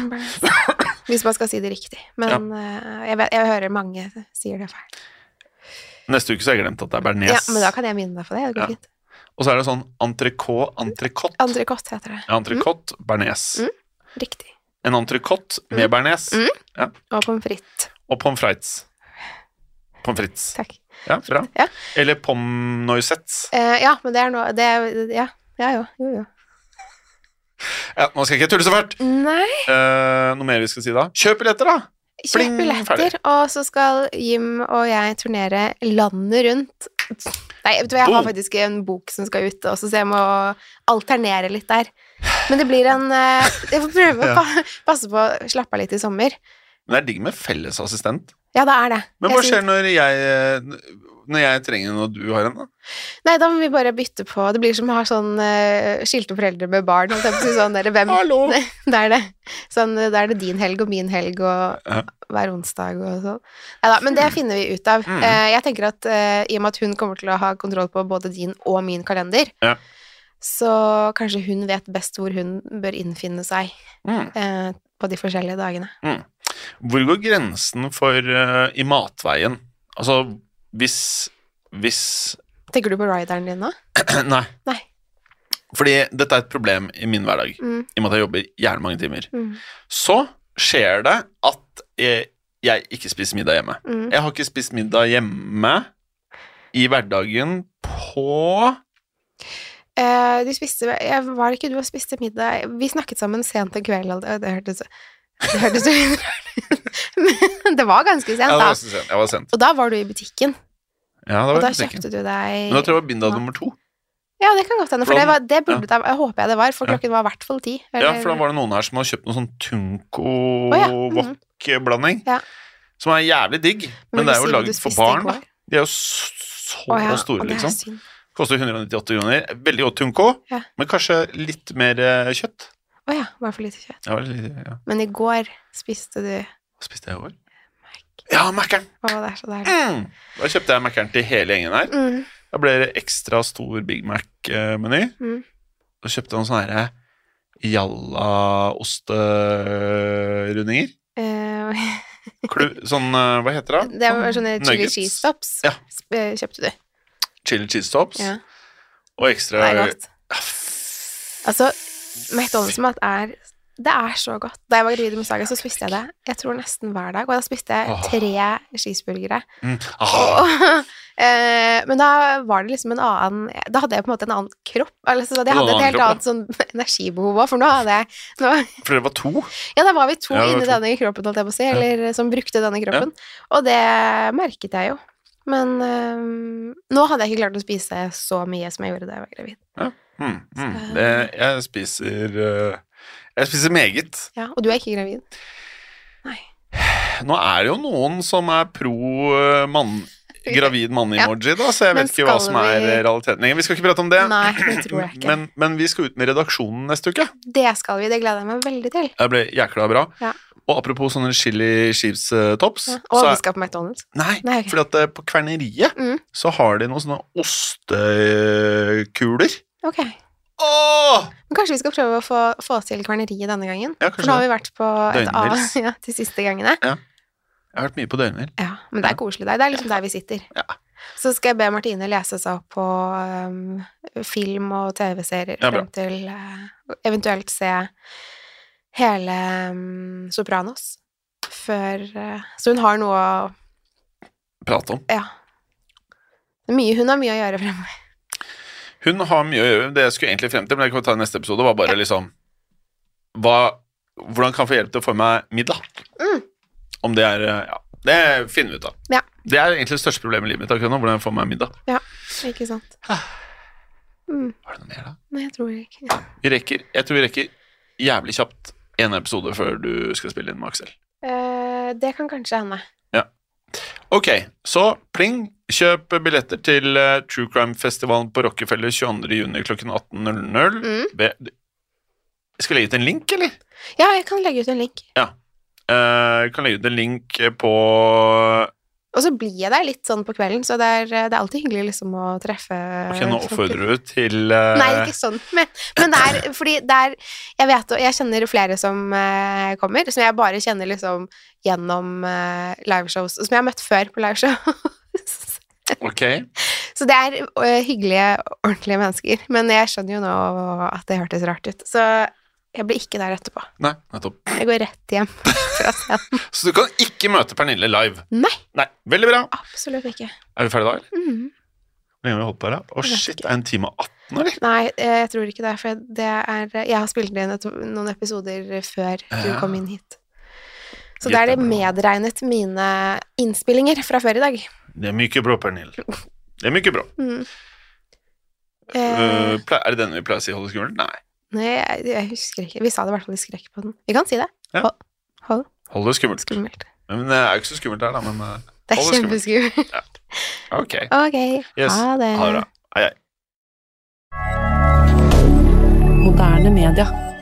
Speaker 3: Hvis man skal si det riktig. Men eh, jeg, vet, jeg hører mange sier det feil.
Speaker 2: Neste uke så har jeg glemt at det er Bernes.
Speaker 3: Ja, men da kan jeg minne deg på det. Det går
Speaker 2: Ja.
Speaker 3: fint.
Speaker 2: Og så er det sånn entrecôte, entrecôte.
Speaker 3: Entrecôte heter det.
Speaker 2: Entrecôte, bearnés.
Speaker 3: Mm. Riktig.
Speaker 2: En entrecôte med bearnés
Speaker 3: Mm. Og pommes frites.
Speaker 2: og pommes frites. Pommes frites.
Speaker 3: Takk.
Speaker 2: Ja, bra.
Speaker 3: Ja.
Speaker 2: Eller pommes noisettes.
Speaker 3: Eh, ja, men det er noe det er, Ja. Ja, jo. Jo, jo.
Speaker 2: Ja, nå skal jeg ikke tulle så fælt.
Speaker 3: Nei,
Speaker 2: Eh, noe mer vi skal si da? Kjøp billetter, da! Pling,
Speaker 3: kjøp billetter,
Speaker 2: ferdig.
Speaker 3: og så skal Jim og jeg turnere landet rundt. Nei, vet du hva, jeg har
Speaker 2: Boom.
Speaker 3: faktisk en bok som skal ut også, så jeg må alternere litt der. Men det blir en eh, Jeg får prøve å
Speaker 2: Ja.
Speaker 3: pa- passe på å slappe av litt i sommer.
Speaker 2: Men det er digg med fellesassistent.
Speaker 3: Ja, det er det.
Speaker 2: Men
Speaker 3: Jeg
Speaker 2: hva
Speaker 3: synes-
Speaker 2: skjer når jeg, når jeg trenger en og du har en, da?
Speaker 3: Nei, da må vi bare bytte på Det blir som å ha sånn eh, skilte foreldre med barn. holdt jeg på å si, Sånn, eller hvem
Speaker 2: Hallo!
Speaker 3: Nei, det er det. Sånn, eh, da er det din helg og min helg og
Speaker 2: Ja.
Speaker 3: hver onsdag og sånn. Nei da, men det finner vi ut av.
Speaker 2: Mm.
Speaker 3: Eh, jeg tenker at eh, i og med at hun kommer til å ha kontroll på både din og min kalender,
Speaker 2: Ja.
Speaker 3: så kanskje hun vet best hvor hun bør innfinne seg
Speaker 2: Mm.
Speaker 3: eh, på de forskjellige dagene.
Speaker 2: Hvor går grensen for eh, i matveien? Altså, hvis Hvis
Speaker 3: Tenker du på rideren din nå?
Speaker 2: Nei.
Speaker 3: Nei.
Speaker 2: Fordi dette er et problem i min hverdag,
Speaker 3: Mm,
Speaker 2: i og med at jeg jobber gjerne mange timer.
Speaker 3: mm,
Speaker 2: Så skjer det at jeg, jeg ikke spiser middag hjemme.
Speaker 3: mm.
Speaker 2: Jeg har ikke spist middag hjemme i hverdagen på
Speaker 3: Eh, du spiste ja, Var det ikke du som spiste middag Vi snakket sammen sent en kveld, og det, det hørtes Det hørtes litt rart ut. Men det var ganske
Speaker 2: Ja, det
Speaker 3: sent,
Speaker 2: var
Speaker 3: da.
Speaker 2: nesten sent. Jeg var sent.
Speaker 3: Og da var du i butikken,
Speaker 2: Ja, det
Speaker 3: og
Speaker 2: var
Speaker 3: da
Speaker 2: jeg sikker.
Speaker 3: kjøpte du
Speaker 2: Men da
Speaker 3: deg
Speaker 2: tror jeg det var binda nummer to.
Speaker 3: Ja, det kan godt hende, for
Speaker 2: For
Speaker 3: det,
Speaker 2: da-
Speaker 3: var, det burde det Jeg håper jeg det var, for
Speaker 2: Ja.
Speaker 3: klokken var i hvert fall ti.
Speaker 2: Ja,
Speaker 3: eller-
Speaker 2: for da var det noen her som hadde kjøpt noe sånn
Speaker 3: ja, mhm.
Speaker 2: Tunco-wok-blanding.
Speaker 3: Ja,
Speaker 2: Som er jævlig digg, men
Speaker 3: du
Speaker 2: det er jo
Speaker 3: sier du
Speaker 2: laget for
Speaker 3: spiste i
Speaker 2: barn. da.
Speaker 3: går.
Speaker 2: De er jo så
Speaker 3: Å ja,
Speaker 2: store,
Speaker 3: og det er
Speaker 2: liksom.
Speaker 3: synd.
Speaker 2: Koster 198 kroner. Veldig godt Tunco,
Speaker 3: Ja.
Speaker 2: men kanskje litt mer eh, kjøtt.
Speaker 3: Å ja, var for lite kjøtt.
Speaker 2: Ja, litt, ja.
Speaker 3: Men i går spiste du
Speaker 2: Hva spiste jeg i går? Ja, Mækkern!
Speaker 3: Å, det er så deilig.
Speaker 2: Mm. Da kjøpte jeg Mækkern til hele gjengen her.
Speaker 3: Mm.
Speaker 2: Da ble det ekstra stor Big Mac-meny.
Speaker 3: Mm.
Speaker 2: Da kjøpte jeg noen sånne her eh, jallaosterundinger.
Speaker 3: Eh,
Speaker 2: Klu- Sånn, eh, hva heter det?
Speaker 3: det var sånne chili
Speaker 2: Nuggets.
Speaker 3: cheese tops
Speaker 2: Ja.
Speaker 3: sp- eh, kjøpte du.
Speaker 2: Chili cheese tops.
Speaker 3: Ja,
Speaker 2: Og ekstra
Speaker 3: det er godt.
Speaker 2: Ja,
Speaker 3: Altså, McDonald's-mat er Det er så godt. Da jeg var gravid med Saga, så spiste jeg det jeg tror nesten hver dag. Og da spiste jeg
Speaker 2: Åh.
Speaker 3: tre cheeseburgere.
Speaker 2: mm. ah,
Speaker 3: Eh, Men da var det liksom en annen Da hadde jeg på en måte en annen kropp. Altså, så jeg
Speaker 2: Du hadde
Speaker 3: hadde et
Speaker 2: en
Speaker 3: helt
Speaker 2: annen
Speaker 3: annet sånn energibehov òg, for nå hadde jeg nå,
Speaker 2: for det var to.
Speaker 3: Ja, da var vi to
Speaker 2: Ja, det var
Speaker 3: inni
Speaker 2: to.
Speaker 3: denne kroppen, holdt jeg på å si, eller eh, som brukte denne kroppen. Og det merket jeg jo. Men eh, nå hadde jeg ikke klart å spise så mye som jeg gjorde da jeg var gravid.
Speaker 2: Mm, mm. Det, jeg spiser eh, Jeg spiser meget.
Speaker 3: Ja, og du er ikke gravid.
Speaker 2: Nå er det jo noen som er pro eh, mann, gravid mann-emoji, da, så jeg
Speaker 3: Men
Speaker 2: vet ikke hva
Speaker 3: skal
Speaker 2: som er
Speaker 3: vi-
Speaker 2: eh, realiteten lenger. Vi skal ikke prate om det.
Speaker 3: Nei, det tror jeg ikke.
Speaker 2: Men, men vi skal ut med redaksjonen neste uke.
Speaker 3: Det skal vi, det gleder jeg meg veldig til.
Speaker 2: Det ble jækla bra.
Speaker 3: Ja.
Speaker 2: Og apropos sånne chili chips eh, tops
Speaker 3: Ja.
Speaker 2: så
Speaker 3: Og vi
Speaker 2: er,
Speaker 3: skal på McDonald's.
Speaker 2: Nei,
Speaker 3: Nei, ok.
Speaker 2: fordi at eh, på kverneriet
Speaker 3: Mm.
Speaker 2: så har de noen sånne ostekuler.
Speaker 3: Ok.
Speaker 2: Åh!
Speaker 3: Men kanskje vi skal prøve å få, få til kverneriet denne gangen?
Speaker 2: Ja,
Speaker 3: For nå
Speaker 2: kanskje
Speaker 3: har
Speaker 2: det.
Speaker 3: vi vært på et av
Speaker 2: Døgnhvils.
Speaker 3: ja, de siste gangene.
Speaker 2: Jeg har vært mye på døgnhvil.
Speaker 3: Ja, men det er koselig der. Det er liksom der vi sitter.
Speaker 2: Ja.
Speaker 3: Så skal jeg be Martine lese seg opp på um, film og TV-serier
Speaker 2: Ja, bra.
Speaker 3: frem til uh, eventuelt se hele um, Sopranos før uh, Så hun har noe å
Speaker 2: Prate om.
Speaker 3: Ja. Mye, hun har mye å gjøre fremover.
Speaker 2: Hun har mye å gjøre. Det jeg skulle egentlig frem til, men det kan vi ta i neste episode, var bare liksom hva, Hvordan kan jeg få hjelp til å få meg middag?
Speaker 3: Mm.
Speaker 2: Om det er eh, Ja, det finner vi ut av.
Speaker 3: Ja.
Speaker 2: Det er egentlig det største problemet i livet mitt akkurat nå, hvordan jeg får meg middag.
Speaker 3: Ikke sant? Mm,
Speaker 2: Har du noe mer, da?
Speaker 3: nei, jeg tror ikke
Speaker 2: Vi rekker, jeg tror vi rekker jævlig kjapt en episode før du skal spille inn med Aksel.
Speaker 3: Eh, Det kan kanskje hende.
Speaker 2: Ok, så pling. Kjøp billetter til eh, True Crime-festivalen på Rockefeller 22.6 klokken 18.00.
Speaker 3: Mm.
Speaker 2: Ved- Skal jeg legge ut en link, eller?
Speaker 3: Ja, jeg kan legge ut en link.
Speaker 2: Eh, kan legge ut en link på
Speaker 3: Og så blir jeg der litt sånn på kvelden, så det er, det er alltid hyggelig liksom å treffe
Speaker 2: Ok, nå
Speaker 3: folk.
Speaker 2: oppfordrer du til eh,
Speaker 3: Nei, ikke sånn. Men, men det er fordi det er Jeg vet og jeg kjenner flere som eh, kommer, som jeg bare kjenner liksom gjennom eh, liveshows, og som jeg har møtt før på liveshows.
Speaker 2: Ok.
Speaker 3: Så det er eh, hyggelige, ordentlige mennesker. Men jeg skjønner jo nå at det hørtes rart ut. Så jeg blir ikke der etterpå.
Speaker 2: Nei, nettopp.
Speaker 3: Jeg går rett hjem fra scenen.
Speaker 2: Så du kan ikke møte Pernille live?
Speaker 3: Nei,
Speaker 2: Nei. Veldig bra.
Speaker 3: absolutt ikke.
Speaker 2: Er vi ferdige da, eller?
Speaker 3: Mm.
Speaker 2: Hvor lenge har vi holdt på her, da? Å,
Speaker 3: vet
Speaker 2: shit, det er en time og 18, eller?
Speaker 3: Nei, eh, jeg tror ikke det. For det er Jeg har spilt inn et, noen episoder før du
Speaker 2: Ja.
Speaker 3: kom inn hit. Så
Speaker 2: Gitt
Speaker 3: da er
Speaker 2: det
Speaker 3: det medregnet mine innspillinger fra før i dag.
Speaker 2: Det er mye bra, Pernille. Det er mye bra.
Speaker 3: Mm.
Speaker 2: Eh,
Speaker 3: Eh,
Speaker 2: ple- er det denne vi pleier å si i Holdeskolen? Nei.
Speaker 3: nei, jeg, jeg husker ikke. Vi sa det i hvert fall i skrekk på den. Vi kan si det.
Speaker 2: Ja.
Speaker 3: Hold, hold
Speaker 2: Hold det skummelt.
Speaker 3: skummelt.
Speaker 2: Men det er jo ikke så skummelt her, da, men eh,
Speaker 3: Det er
Speaker 2: Hold det
Speaker 3: kjempeskummelt.
Speaker 2: ok.
Speaker 3: Ok,
Speaker 2: Yes.
Speaker 3: ha det.
Speaker 2: Ha det bra. Hei, hei.
Speaker 1: Moderne media.